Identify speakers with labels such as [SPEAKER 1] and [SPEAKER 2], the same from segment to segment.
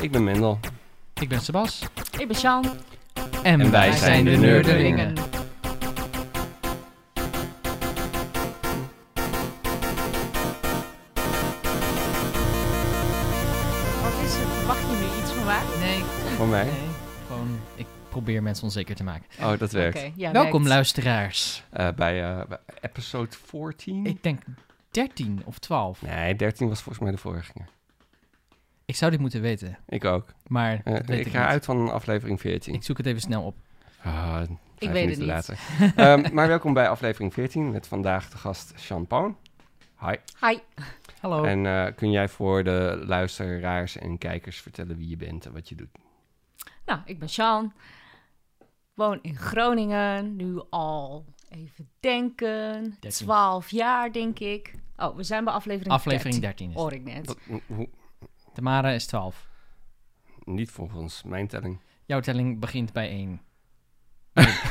[SPEAKER 1] Ik ben Mendel.
[SPEAKER 2] Ik ben Sebas.
[SPEAKER 3] Ik ben Sjan.
[SPEAKER 2] En,
[SPEAKER 1] wij wij zijn zijn de de Nerdelingen.
[SPEAKER 3] Wat is het? Verwacht je nu iets van waar?
[SPEAKER 2] Nee,
[SPEAKER 1] Voor mij.
[SPEAKER 2] nee. Gewoon, ik probeer mensen onzeker te maken.
[SPEAKER 1] Oh, dat werkt.
[SPEAKER 3] ja,
[SPEAKER 2] Welkom
[SPEAKER 3] werkt.
[SPEAKER 2] luisteraars.
[SPEAKER 1] Eh, bij, eh, bij episode
[SPEAKER 3] Hm.
[SPEAKER 1] 14?
[SPEAKER 2] Ik denk 13 of 12.
[SPEAKER 1] Nee, 13 was volgens mij de vorige keer.
[SPEAKER 2] Ik zou dit moeten weten,
[SPEAKER 1] Ik ook.
[SPEAKER 2] maar
[SPEAKER 1] Eh,
[SPEAKER 2] dat weet
[SPEAKER 1] ik
[SPEAKER 2] ik,
[SPEAKER 1] ga
[SPEAKER 2] niet.
[SPEAKER 1] uit van aflevering 14.
[SPEAKER 2] Ik zoek het even snel op.
[SPEAKER 1] Ah, vijf
[SPEAKER 3] weet het
[SPEAKER 1] minuten
[SPEAKER 3] niet.
[SPEAKER 1] later. Ehm, maar welkom bij aflevering 14 met vandaag de gast Sean Poon. Hi.
[SPEAKER 3] Hi. Oh.
[SPEAKER 2] Hallo.
[SPEAKER 1] En eh, kun jij voor de luisteraars en kijkers vertellen wie je bent en wat je doet?
[SPEAKER 3] Nou, ik ben Sjan. Woon in Groningen. Nu al even denken.
[SPEAKER 2] 13.
[SPEAKER 3] 12 jaar, denk ik. Oh, we zijn bij aflevering
[SPEAKER 2] Aflevering 13 is het.
[SPEAKER 3] Hoor ik net.
[SPEAKER 1] Wat- hoe-
[SPEAKER 3] Oh.
[SPEAKER 2] Tamara is 12.
[SPEAKER 1] niet volgens mijn telling.
[SPEAKER 2] Jouw telling begint bij 1.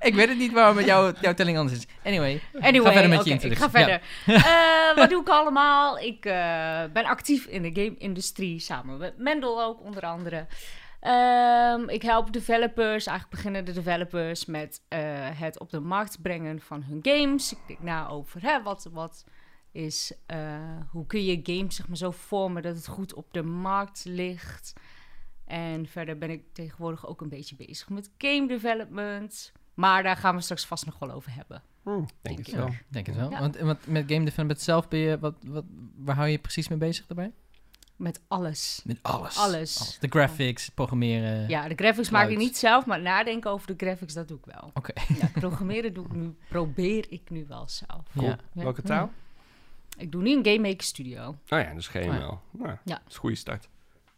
[SPEAKER 2] ik weet het niet waarom het jouw- jouw telling anders is. Anyway,
[SPEAKER 3] Anyway,
[SPEAKER 2] verder met je
[SPEAKER 3] oké, ik
[SPEAKER 2] introductie.
[SPEAKER 3] ga verder. Eh, wat doe ik allemaal? Ik eh, ben actief in de game-industrie, samen met Mendel ook onder andere. Ehm, ik help developers, eigenlijk beginnende developers, met eh, het op de markt brengen van hun games. Ik denk na over hè, wat, wat is, eh, hoe kun je games zeg maar, zo vormen dat het goed op de markt ligt. En verder ben ik tegenwoordig ook een beetje bezig met game development. Maar daar gaan we straks vast nog wel over hebben.
[SPEAKER 1] Hm, denk,
[SPEAKER 3] Denk
[SPEAKER 1] het
[SPEAKER 3] ik
[SPEAKER 1] wel.
[SPEAKER 3] ook.
[SPEAKER 2] Ik denk het wel.
[SPEAKER 3] Ja.
[SPEAKER 2] Want, want met game development zelf ben je, wat, wat, waar hou je precies mee bezig daarbij?
[SPEAKER 3] Met alles.
[SPEAKER 2] Met alles.
[SPEAKER 3] Alles.
[SPEAKER 2] De graphics, het programmeren.
[SPEAKER 3] Ja, de graphics
[SPEAKER 2] Geluid.
[SPEAKER 3] maak ik niet zelf, maar nadenken over de graphics, dat doe ik wel.
[SPEAKER 2] Oké.
[SPEAKER 3] Ja, programmeren doe ik nu, probeer ik nu wel zelf.
[SPEAKER 1] Cool.
[SPEAKER 2] Ja.
[SPEAKER 3] Ja.
[SPEAKER 1] Welke taal?
[SPEAKER 3] Ik doe nu een Game Maker Studio.
[SPEAKER 1] Nou ja, dus GML.
[SPEAKER 2] Oh
[SPEAKER 1] Nou,
[SPEAKER 3] Ja.
[SPEAKER 1] dat is een goede start.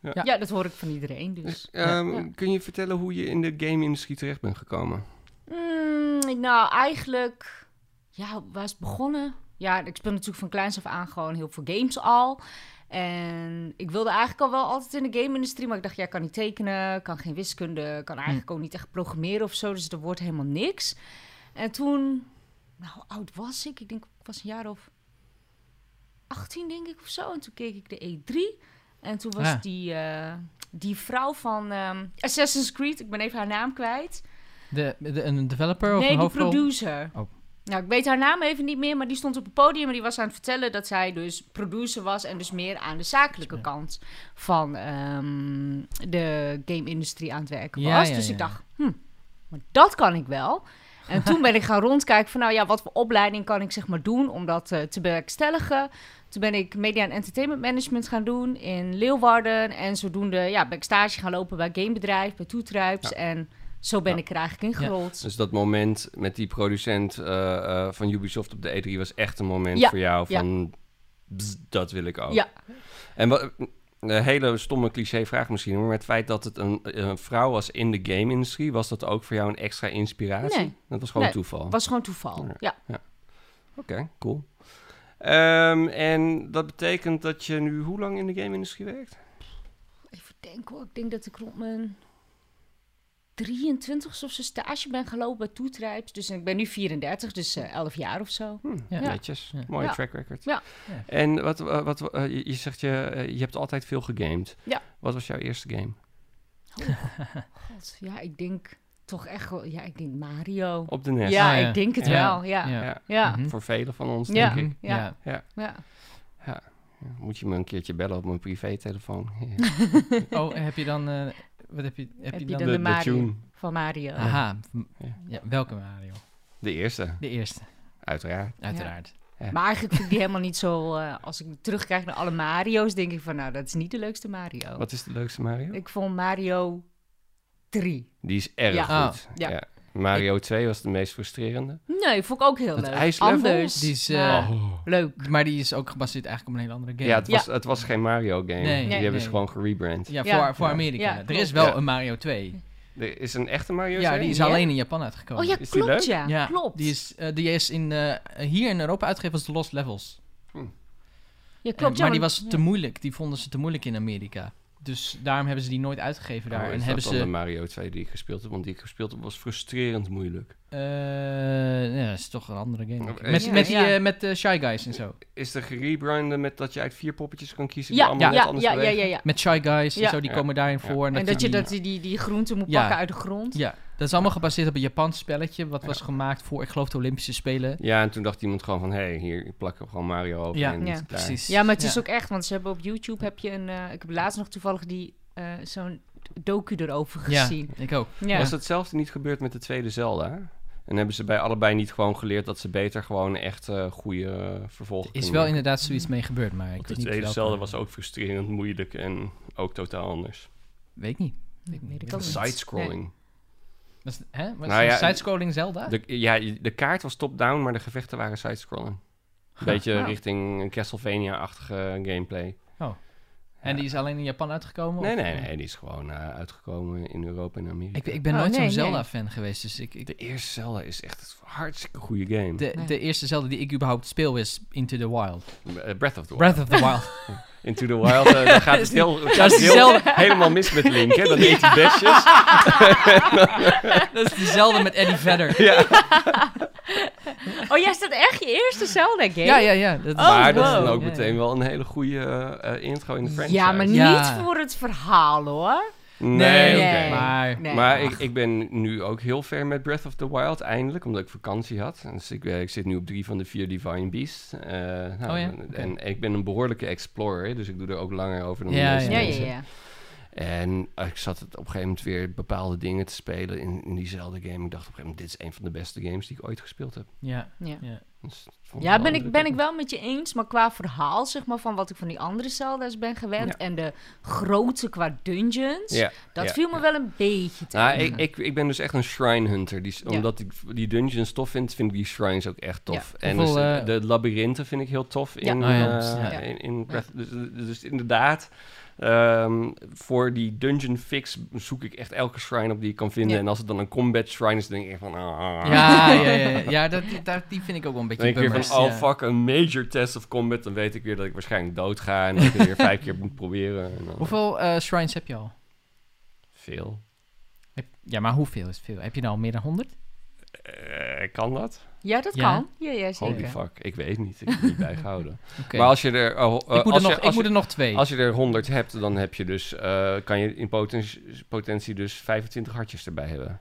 [SPEAKER 3] Ja.
[SPEAKER 2] Ja.
[SPEAKER 3] dat hoor ik van iedereen,
[SPEAKER 1] Dus,
[SPEAKER 3] dus...
[SPEAKER 1] ehm,
[SPEAKER 3] ja.
[SPEAKER 1] Kun je vertellen hoe je in de game-industrie terecht bent gekomen?
[SPEAKER 3] Mm, nou, eigenlijk... Ja, waar is het begonnen? Ja, ik speel natuurlijk van kleins af aan gewoon heel veel games al. En ik wilde eigenlijk al wel altijd in de game-industrie, maar ik dacht, ja, ik kan niet tekenen, kan geen wiskunde, kan eigenlijk ook niet echt programmeren of zo, dus er wordt helemaal niks. En toen, nou, hoe oud was ik? Ik denk, ik was een jaar of 18, denk ik, of zo. En toen keek ik de E3 en toen was
[SPEAKER 2] Ja.
[SPEAKER 3] die, eh, die vrouw van ehm, Assassin's Creed, ik ben even haar naam kwijt,
[SPEAKER 2] De, de, een developer of
[SPEAKER 3] Nee,
[SPEAKER 2] een
[SPEAKER 3] die
[SPEAKER 2] hoofdrol?
[SPEAKER 3] producer.
[SPEAKER 2] Oh.
[SPEAKER 3] Nou, ik weet haar naam even niet meer, maar die stond op het podium en die was aan het vertellen dat zij dus producer was en dus meer aan de zakelijke
[SPEAKER 2] Ja.
[SPEAKER 3] kant van ehm, de game-industrie aan het werken
[SPEAKER 2] Ja,
[SPEAKER 3] was.
[SPEAKER 2] ja,
[SPEAKER 3] dus
[SPEAKER 2] ja.
[SPEAKER 3] ik dacht, hm, maar dat kan ik wel. En toen ben ik gaan rondkijken van, nou ja, wat voor opleiding kan ik zeg maar doen om dat eh, te bewerkstelligen. Toen ben ik media en entertainment management gaan doen in Leeuwarden. En zodoende ja, ben ik stage gaan lopen bij gamebedrijf, bij Toetruips. En zo ben
[SPEAKER 1] Ja.
[SPEAKER 3] ik er eigenlijk
[SPEAKER 2] Ja.
[SPEAKER 3] ingerold.
[SPEAKER 1] Dus dat moment met die producent eh, eh, van Ubisoft op de E3 was echt een moment
[SPEAKER 3] Ja,
[SPEAKER 1] voor jou
[SPEAKER 3] ja.
[SPEAKER 1] van... "Bzz, dat wil ik ook.
[SPEAKER 3] Ja.
[SPEAKER 1] En wat... Een hele stomme cliché vraag misschien, maar het feit dat het een, een vrouw was in de game-industrie, was dat ook voor jou een extra inspiratie?
[SPEAKER 3] Nee.
[SPEAKER 1] Dat was gewoon
[SPEAKER 3] Nee,
[SPEAKER 1] toeval.
[SPEAKER 3] was gewoon toeval.
[SPEAKER 1] Oh. Ja.
[SPEAKER 3] Ja.
[SPEAKER 1] Oké, cool. Ehm, en dat betekent dat je nu hoe lang in de game-industrie werkt?
[SPEAKER 3] Even denken hoor. Ik denk dat ik rond mijn 23 of zo stage ben gelopen bij Toetrijps. Dus ik ben nu 34, dus eh 11 jaar of zo.
[SPEAKER 1] Hm,
[SPEAKER 2] Ja.
[SPEAKER 1] Netjes.
[SPEAKER 2] Ja.
[SPEAKER 1] Mooie
[SPEAKER 3] Ja.
[SPEAKER 1] track record.
[SPEAKER 3] Ja.
[SPEAKER 2] Ja.
[SPEAKER 1] En wat, eh, wat, eh, je- je zegt, je, eh, je hebt altijd veel gegamed.
[SPEAKER 3] Ja.
[SPEAKER 1] Wat was jouw eerste game?
[SPEAKER 3] God, Oh. ja, ik denk toch echt wel... Ja, ik denk Mario.
[SPEAKER 1] Op de NES.
[SPEAKER 3] Ja,
[SPEAKER 2] Ah, ja.
[SPEAKER 3] ik denk het
[SPEAKER 1] Ja.
[SPEAKER 3] wel. Ja, ja.
[SPEAKER 2] Ja.
[SPEAKER 1] Ja,
[SPEAKER 3] ja.
[SPEAKER 2] Mhm.
[SPEAKER 1] Voor velen van ons,
[SPEAKER 3] Ja.
[SPEAKER 1] denk ik.
[SPEAKER 2] Ja.
[SPEAKER 3] Ja.
[SPEAKER 1] Ja, Moet je me een keertje bellen op mijn privételefoon.
[SPEAKER 2] Oh, heb je dan... eh, wat heb je, heb je
[SPEAKER 3] je
[SPEAKER 2] dan?
[SPEAKER 3] dan- de Mario.
[SPEAKER 1] tune.
[SPEAKER 3] Van Mario.
[SPEAKER 2] Aha.
[SPEAKER 1] Ja.
[SPEAKER 2] Ja, welke Mario?
[SPEAKER 1] De eerste,
[SPEAKER 2] De eerste,
[SPEAKER 1] uiteraard.
[SPEAKER 2] uiteraard.
[SPEAKER 3] Maar eigenlijk vind ik die helemaal niet zo... eh, als ik terugkijk naar alle Mario's, denk ik van... Nou, dat is niet de leukste Mario.
[SPEAKER 1] Wat is de leukste Mario?
[SPEAKER 3] Oh. Ik vond Mario 3.
[SPEAKER 1] Die is erg
[SPEAKER 3] Ja.
[SPEAKER 1] goed.
[SPEAKER 3] Ah, ja.
[SPEAKER 1] Mario 2 was de meest frustrerende.
[SPEAKER 3] Nee, vond ik ook heel
[SPEAKER 1] Het
[SPEAKER 3] leuk.
[SPEAKER 1] ijslevel?
[SPEAKER 3] Anders.
[SPEAKER 2] Die is, eh,
[SPEAKER 3] maar
[SPEAKER 1] Oh.
[SPEAKER 3] Leuk.
[SPEAKER 2] Maar die is ook gebaseerd eigenlijk op een hele andere game.
[SPEAKER 1] Ja, het was, het was geen Mario game.
[SPEAKER 2] Nee.
[SPEAKER 1] Die
[SPEAKER 3] Nee.
[SPEAKER 1] hebben
[SPEAKER 2] Nee.
[SPEAKER 1] ze gewoon gerebrand.
[SPEAKER 2] Ja,
[SPEAKER 3] Ja.
[SPEAKER 2] voor, voor
[SPEAKER 1] Ja.
[SPEAKER 2] Amerika.
[SPEAKER 3] Ja,
[SPEAKER 2] er
[SPEAKER 3] klopt.
[SPEAKER 2] is wel
[SPEAKER 1] Ja.
[SPEAKER 2] een Mario 2.
[SPEAKER 1] Er is een echte Mario
[SPEAKER 2] Ja,
[SPEAKER 1] 2?
[SPEAKER 2] die is
[SPEAKER 3] Ja.
[SPEAKER 2] alleen in Japan uitgekomen.
[SPEAKER 3] Oh ja,
[SPEAKER 1] Is die leuk?
[SPEAKER 3] klopt ja.
[SPEAKER 2] Ja,
[SPEAKER 3] Klopt.
[SPEAKER 2] Die is, eh, die is in, eh, hier in Europa uitgegeven als The Lost Levels.
[SPEAKER 3] ja,
[SPEAKER 2] Eh,
[SPEAKER 3] klopt, ja,
[SPEAKER 2] maar die
[SPEAKER 3] want-
[SPEAKER 2] was
[SPEAKER 3] ja.
[SPEAKER 2] te moeilijk. Die vonden ze te moeilijk in Amerika. Dus daarom hebben ze die nooit uitgegeven daar.
[SPEAKER 1] Oh, is
[SPEAKER 2] en
[SPEAKER 1] dat
[SPEAKER 2] hebben
[SPEAKER 1] dan
[SPEAKER 2] ze.
[SPEAKER 1] de Mario 2 die ik gespeeld heb? Want die ik gespeeld heb was frustrerend moeilijk.
[SPEAKER 2] eh, ja, dat is toch een andere game.
[SPEAKER 1] Ja,
[SPEAKER 2] Met,
[SPEAKER 1] ja.
[SPEAKER 2] met, die,
[SPEAKER 3] Ja.
[SPEAKER 2] eh, met eh, Shy Guys en zo.
[SPEAKER 1] Is de gerebrande met dat je uit vier poppetjes kan kiezen die
[SPEAKER 3] Ja, ja,
[SPEAKER 1] allemaal net
[SPEAKER 3] ja,
[SPEAKER 1] anders
[SPEAKER 3] ja, ja,
[SPEAKER 1] bewegen?
[SPEAKER 3] ja.
[SPEAKER 2] Met Shy Guys en
[SPEAKER 3] Ja.
[SPEAKER 2] zo, die
[SPEAKER 1] Ja.
[SPEAKER 2] komen daarin
[SPEAKER 1] Ja.
[SPEAKER 2] voor.
[SPEAKER 3] En dat je
[SPEAKER 2] die-
[SPEAKER 3] dat, die, die groente moet
[SPEAKER 2] Ja.
[SPEAKER 3] pakken uit de grond.
[SPEAKER 2] Ja, dat is allemaal gebaseerd op een Japans spelletje... wat was gemaakt voor, ik geloof, de Olympische Spelen.
[SPEAKER 1] Ja, en toen dacht iemand gewoon van, hé, hey, hier plakken we gewoon Mario over.
[SPEAKER 2] Ja.
[SPEAKER 1] en
[SPEAKER 3] Ja,
[SPEAKER 1] klaar.
[SPEAKER 2] Precies.
[SPEAKER 3] Ja, maar het is ook echt, want ze hebben op YouTube heb je een. eh, ik heb laatst nog toevallig die eh, zo'n docu erover
[SPEAKER 2] Ja,
[SPEAKER 3] gezien.
[SPEAKER 2] ik ook.
[SPEAKER 3] Ja.
[SPEAKER 1] Was hetzelfde niet gebeurd met de tweede Zelda? En hebben ze bij allebei niet gewoon geleerd dat ze beter gewoon echt eh goede vervolgen
[SPEAKER 2] Er is
[SPEAKER 1] kunnen
[SPEAKER 2] wel
[SPEAKER 1] maken?
[SPEAKER 2] inderdaad zoiets mee gebeurd, maar ik
[SPEAKER 1] Want
[SPEAKER 2] weet
[SPEAKER 1] de
[SPEAKER 2] niet
[SPEAKER 1] tweede
[SPEAKER 2] welke-
[SPEAKER 1] Zelda was ook frustrerend, moeilijk en ook totaal anders.
[SPEAKER 2] Weet ik niet. Weet ik
[SPEAKER 3] Weet
[SPEAKER 2] niet.
[SPEAKER 3] ik ook niet.
[SPEAKER 1] Sidescrolling.
[SPEAKER 2] Was, hè? Was
[SPEAKER 1] Nou ja,
[SPEAKER 2] sidescrolling Zelda?
[SPEAKER 1] De, ja, de kaart was top-down, maar de gevechten waren sidescrolling. Een beetje
[SPEAKER 3] nou.
[SPEAKER 1] richting Castlevania-achtige gameplay.
[SPEAKER 2] En die is alleen in Japan uitgekomen?
[SPEAKER 1] Nee,
[SPEAKER 2] of-
[SPEAKER 1] nee, nee. Die is gewoon eh, uitgekomen in Europa en Amerika.
[SPEAKER 2] Ik, ik ben
[SPEAKER 3] Oh,
[SPEAKER 2] nooit
[SPEAKER 3] nee,
[SPEAKER 2] zo'n
[SPEAKER 3] nee.
[SPEAKER 2] Zelda-fan geweest, dus ik... ik
[SPEAKER 1] De eerste Zelda is echt een hartstikke goede game.
[SPEAKER 2] de,
[SPEAKER 3] Nee.
[SPEAKER 2] de eerste Zelda die ik überhaupt speel is Into the Wild.
[SPEAKER 1] Eh, Breath of the Wild.
[SPEAKER 2] Breath of the Wild.
[SPEAKER 1] Into the Wild, eh, dan gaat het heel, gaat
[SPEAKER 2] dat is
[SPEAKER 1] het heel
[SPEAKER 2] diezelfde-
[SPEAKER 1] helemaal mis met Link, hè? Dan eet hij besjes.
[SPEAKER 2] Oh, dat is diezelfde met Eddie Vedder.
[SPEAKER 3] Oh, jij is dat echt je eerste Zelda-game?
[SPEAKER 2] Ja, ja, ja. Dat is-
[SPEAKER 3] Oh,
[SPEAKER 1] maar dat is
[SPEAKER 3] wow.
[SPEAKER 1] dan ook
[SPEAKER 2] Ja,
[SPEAKER 1] meteen wel een hele goede eh, eh, intro in de franchise.
[SPEAKER 3] Ja, maar niet
[SPEAKER 2] Ja.
[SPEAKER 3] voor het verhaal hoor.
[SPEAKER 1] Nee,
[SPEAKER 2] Nee,
[SPEAKER 1] oké.
[SPEAKER 3] nee.
[SPEAKER 2] Maar...
[SPEAKER 3] Nee.
[SPEAKER 1] Maar ik, ik ben nu ook heel ver met Breath of the Wild, eindelijk, omdat ik vakantie had. Dus ik, eh, ik zit nu op drie van de vier Divine Beasts. Eh, nou,
[SPEAKER 2] Oh ja,
[SPEAKER 1] en-
[SPEAKER 2] oké.
[SPEAKER 1] En ik ben een behoorlijke explorer, dus ik doe er ook langer over dan de
[SPEAKER 2] Ja,
[SPEAKER 1] meeste
[SPEAKER 3] Ja, ja,
[SPEAKER 1] mensen.
[SPEAKER 3] ja.
[SPEAKER 1] En eh, ik zat het op een gegeven moment weer bepaalde dingen te spelen in, in diezelfde game. Ik dacht op een gegeven moment, dit is een van de beste games die ik ooit gespeeld heb.
[SPEAKER 2] Ja.
[SPEAKER 3] Ja.
[SPEAKER 1] Dus dat vond
[SPEAKER 3] Ja,
[SPEAKER 1] wel
[SPEAKER 3] ben ik, ben ik
[SPEAKER 1] indrukwekkend.
[SPEAKER 3] wel met je eens, maar qua verhaal, zeg maar, van wat ik van die andere Zelda's ben gewend
[SPEAKER 1] Ja.
[SPEAKER 3] en de grootte qua dungeons,
[SPEAKER 1] Ja,
[SPEAKER 3] dat
[SPEAKER 1] ja,
[SPEAKER 3] viel me
[SPEAKER 1] ja.
[SPEAKER 3] wel een beetje tegen.
[SPEAKER 1] Nou, ik, ik, ik ben dus echt een shrine hunter. Die, s-
[SPEAKER 3] Ja.
[SPEAKER 1] Omdat ik die dungeons tof vind, vind ik die shrines ook echt tof. En
[SPEAKER 2] Hoeveel,
[SPEAKER 1] dus,
[SPEAKER 2] eh,
[SPEAKER 1] de labyrinthen vind ik heel tof in,
[SPEAKER 2] Ja. Oh ja,
[SPEAKER 1] eh,
[SPEAKER 2] ja.
[SPEAKER 1] in, in Breath- dus, dus inderdaad, ehm, voor die dungeon fix zoek ik echt elke shrine op die ik kan vinden.
[SPEAKER 3] Ja.
[SPEAKER 1] En als het dan een combat shrine is, dan denk ik echt van... Ah,
[SPEAKER 2] Ja, ja, ja, ja. Ja, dat, die- daar- die vind ik ook wel een
[SPEAKER 1] Dan
[SPEAKER 2] beetje
[SPEAKER 1] denk ik weer
[SPEAKER 2] bummers.
[SPEAKER 1] van, oh
[SPEAKER 2] ja.
[SPEAKER 1] fuck, een major test of combat. Dan weet ik weer dat ik waarschijnlijk dood ga. En dat ik het weer vijf keer moet proberen. En dan-
[SPEAKER 2] Hoeveel eh, shrines heb je al?
[SPEAKER 1] Veel.
[SPEAKER 2] Heb- Ja, maar hoeveel is veel? Heb je nou al meer dan 100?
[SPEAKER 1] Eh, kan dat?
[SPEAKER 3] Ja, dat
[SPEAKER 2] Ja.
[SPEAKER 3] kan. Ja, ja,
[SPEAKER 1] Holy
[SPEAKER 3] zeker.
[SPEAKER 1] fuck, ik weet niet. Ik heb het niet bijgehouden.
[SPEAKER 2] Oké.
[SPEAKER 1] Maar als je er... oh, eh,
[SPEAKER 2] ik moet, er
[SPEAKER 1] als
[SPEAKER 2] nog,
[SPEAKER 1] je,
[SPEAKER 2] ik
[SPEAKER 1] als
[SPEAKER 2] moet
[SPEAKER 1] je-
[SPEAKER 2] er nog twee.
[SPEAKER 1] als je er 100 hebt, dan heb je dus, eh, kan je in potentie, potentie dus 25 hartjes erbij hebben.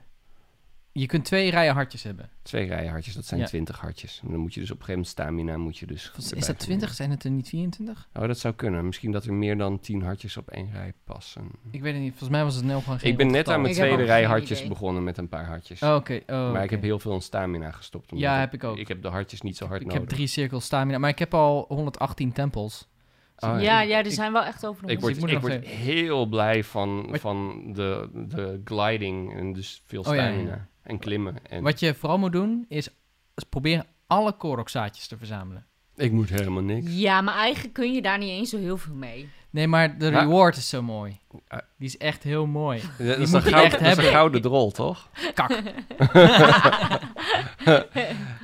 [SPEAKER 2] Je kunt twee rijen hartjes hebben.
[SPEAKER 1] Twee rijen hartjes, dat zijn
[SPEAKER 2] Ja.
[SPEAKER 1] 20 hartjes. En dan moet je dus op een gegeven moment stamina moet je dus
[SPEAKER 2] Is,
[SPEAKER 1] erbij
[SPEAKER 2] dat 20? Zijn het er niet 24?
[SPEAKER 1] verdienen. Oh, dat zou kunnen. Misschien dat er meer dan 10 hartjes op één rij passen.
[SPEAKER 2] Ik weet het niet. Volgens mij was het nul gewoon geen
[SPEAKER 1] ik ben
[SPEAKER 2] rond
[SPEAKER 1] net
[SPEAKER 2] getal.
[SPEAKER 1] aan mijn
[SPEAKER 3] Ik heb
[SPEAKER 1] tweede
[SPEAKER 3] ook
[SPEAKER 1] rij
[SPEAKER 3] geen
[SPEAKER 1] hartjes
[SPEAKER 3] idee.
[SPEAKER 1] begonnen met een paar hartjes.
[SPEAKER 2] Oh, Oké. oh,
[SPEAKER 1] maar ik
[SPEAKER 2] oké.
[SPEAKER 1] heb heel veel in stamina gestopt. omdat
[SPEAKER 2] Ja, heb ik ook.
[SPEAKER 1] Ik heb de hartjes niet zo hard
[SPEAKER 2] Ik
[SPEAKER 1] nodig.
[SPEAKER 2] heb drie cirkels stamina, maar ik heb al 118 tempels.
[SPEAKER 1] Oh,
[SPEAKER 3] ja,
[SPEAKER 2] Ik-
[SPEAKER 3] ja, er
[SPEAKER 2] ik-
[SPEAKER 3] zijn wel echt over.
[SPEAKER 1] Ik
[SPEAKER 2] Dus
[SPEAKER 1] word,
[SPEAKER 2] ik moet
[SPEAKER 1] ik
[SPEAKER 2] nog
[SPEAKER 1] word heel blij van, van de, de gliding en dus veel
[SPEAKER 2] Oh, ja, ja,
[SPEAKER 1] stamina. En klimmen. En
[SPEAKER 2] Wat je vooral moet doen, is, is proberen alle korokzaadjes te verzamelen.
[SPEAKER 1] Ik moet helemaal niks.
[SPEAKER 3] Ja, maar eigenlijk kun je daar niet eens zo heel veel mee.
[SPEAKER 2] Nee, maar de
[SPEAKER 1] Ja.
[SPEAKER 2] reward is zo mooi.
[SPEAKER 1] Ah.
[SPEAKER 2] Die is echt heel mooi.
[SPEAKER 1] Dat
[SPEAKER 2] Die
[SPEAKER 1] is,
[SPEAKER 2] moet
[SPEAKER 1] een
[SPEAKER 2] je
[SPEAKER 1] gouden,
[SPEAKER 2] echt
[SPEAKER 1] dat is een
[SPEAKER 2] hebben.
[SPEAKER 1] gouden drol, toch?
[SPEAKER 2] Kak.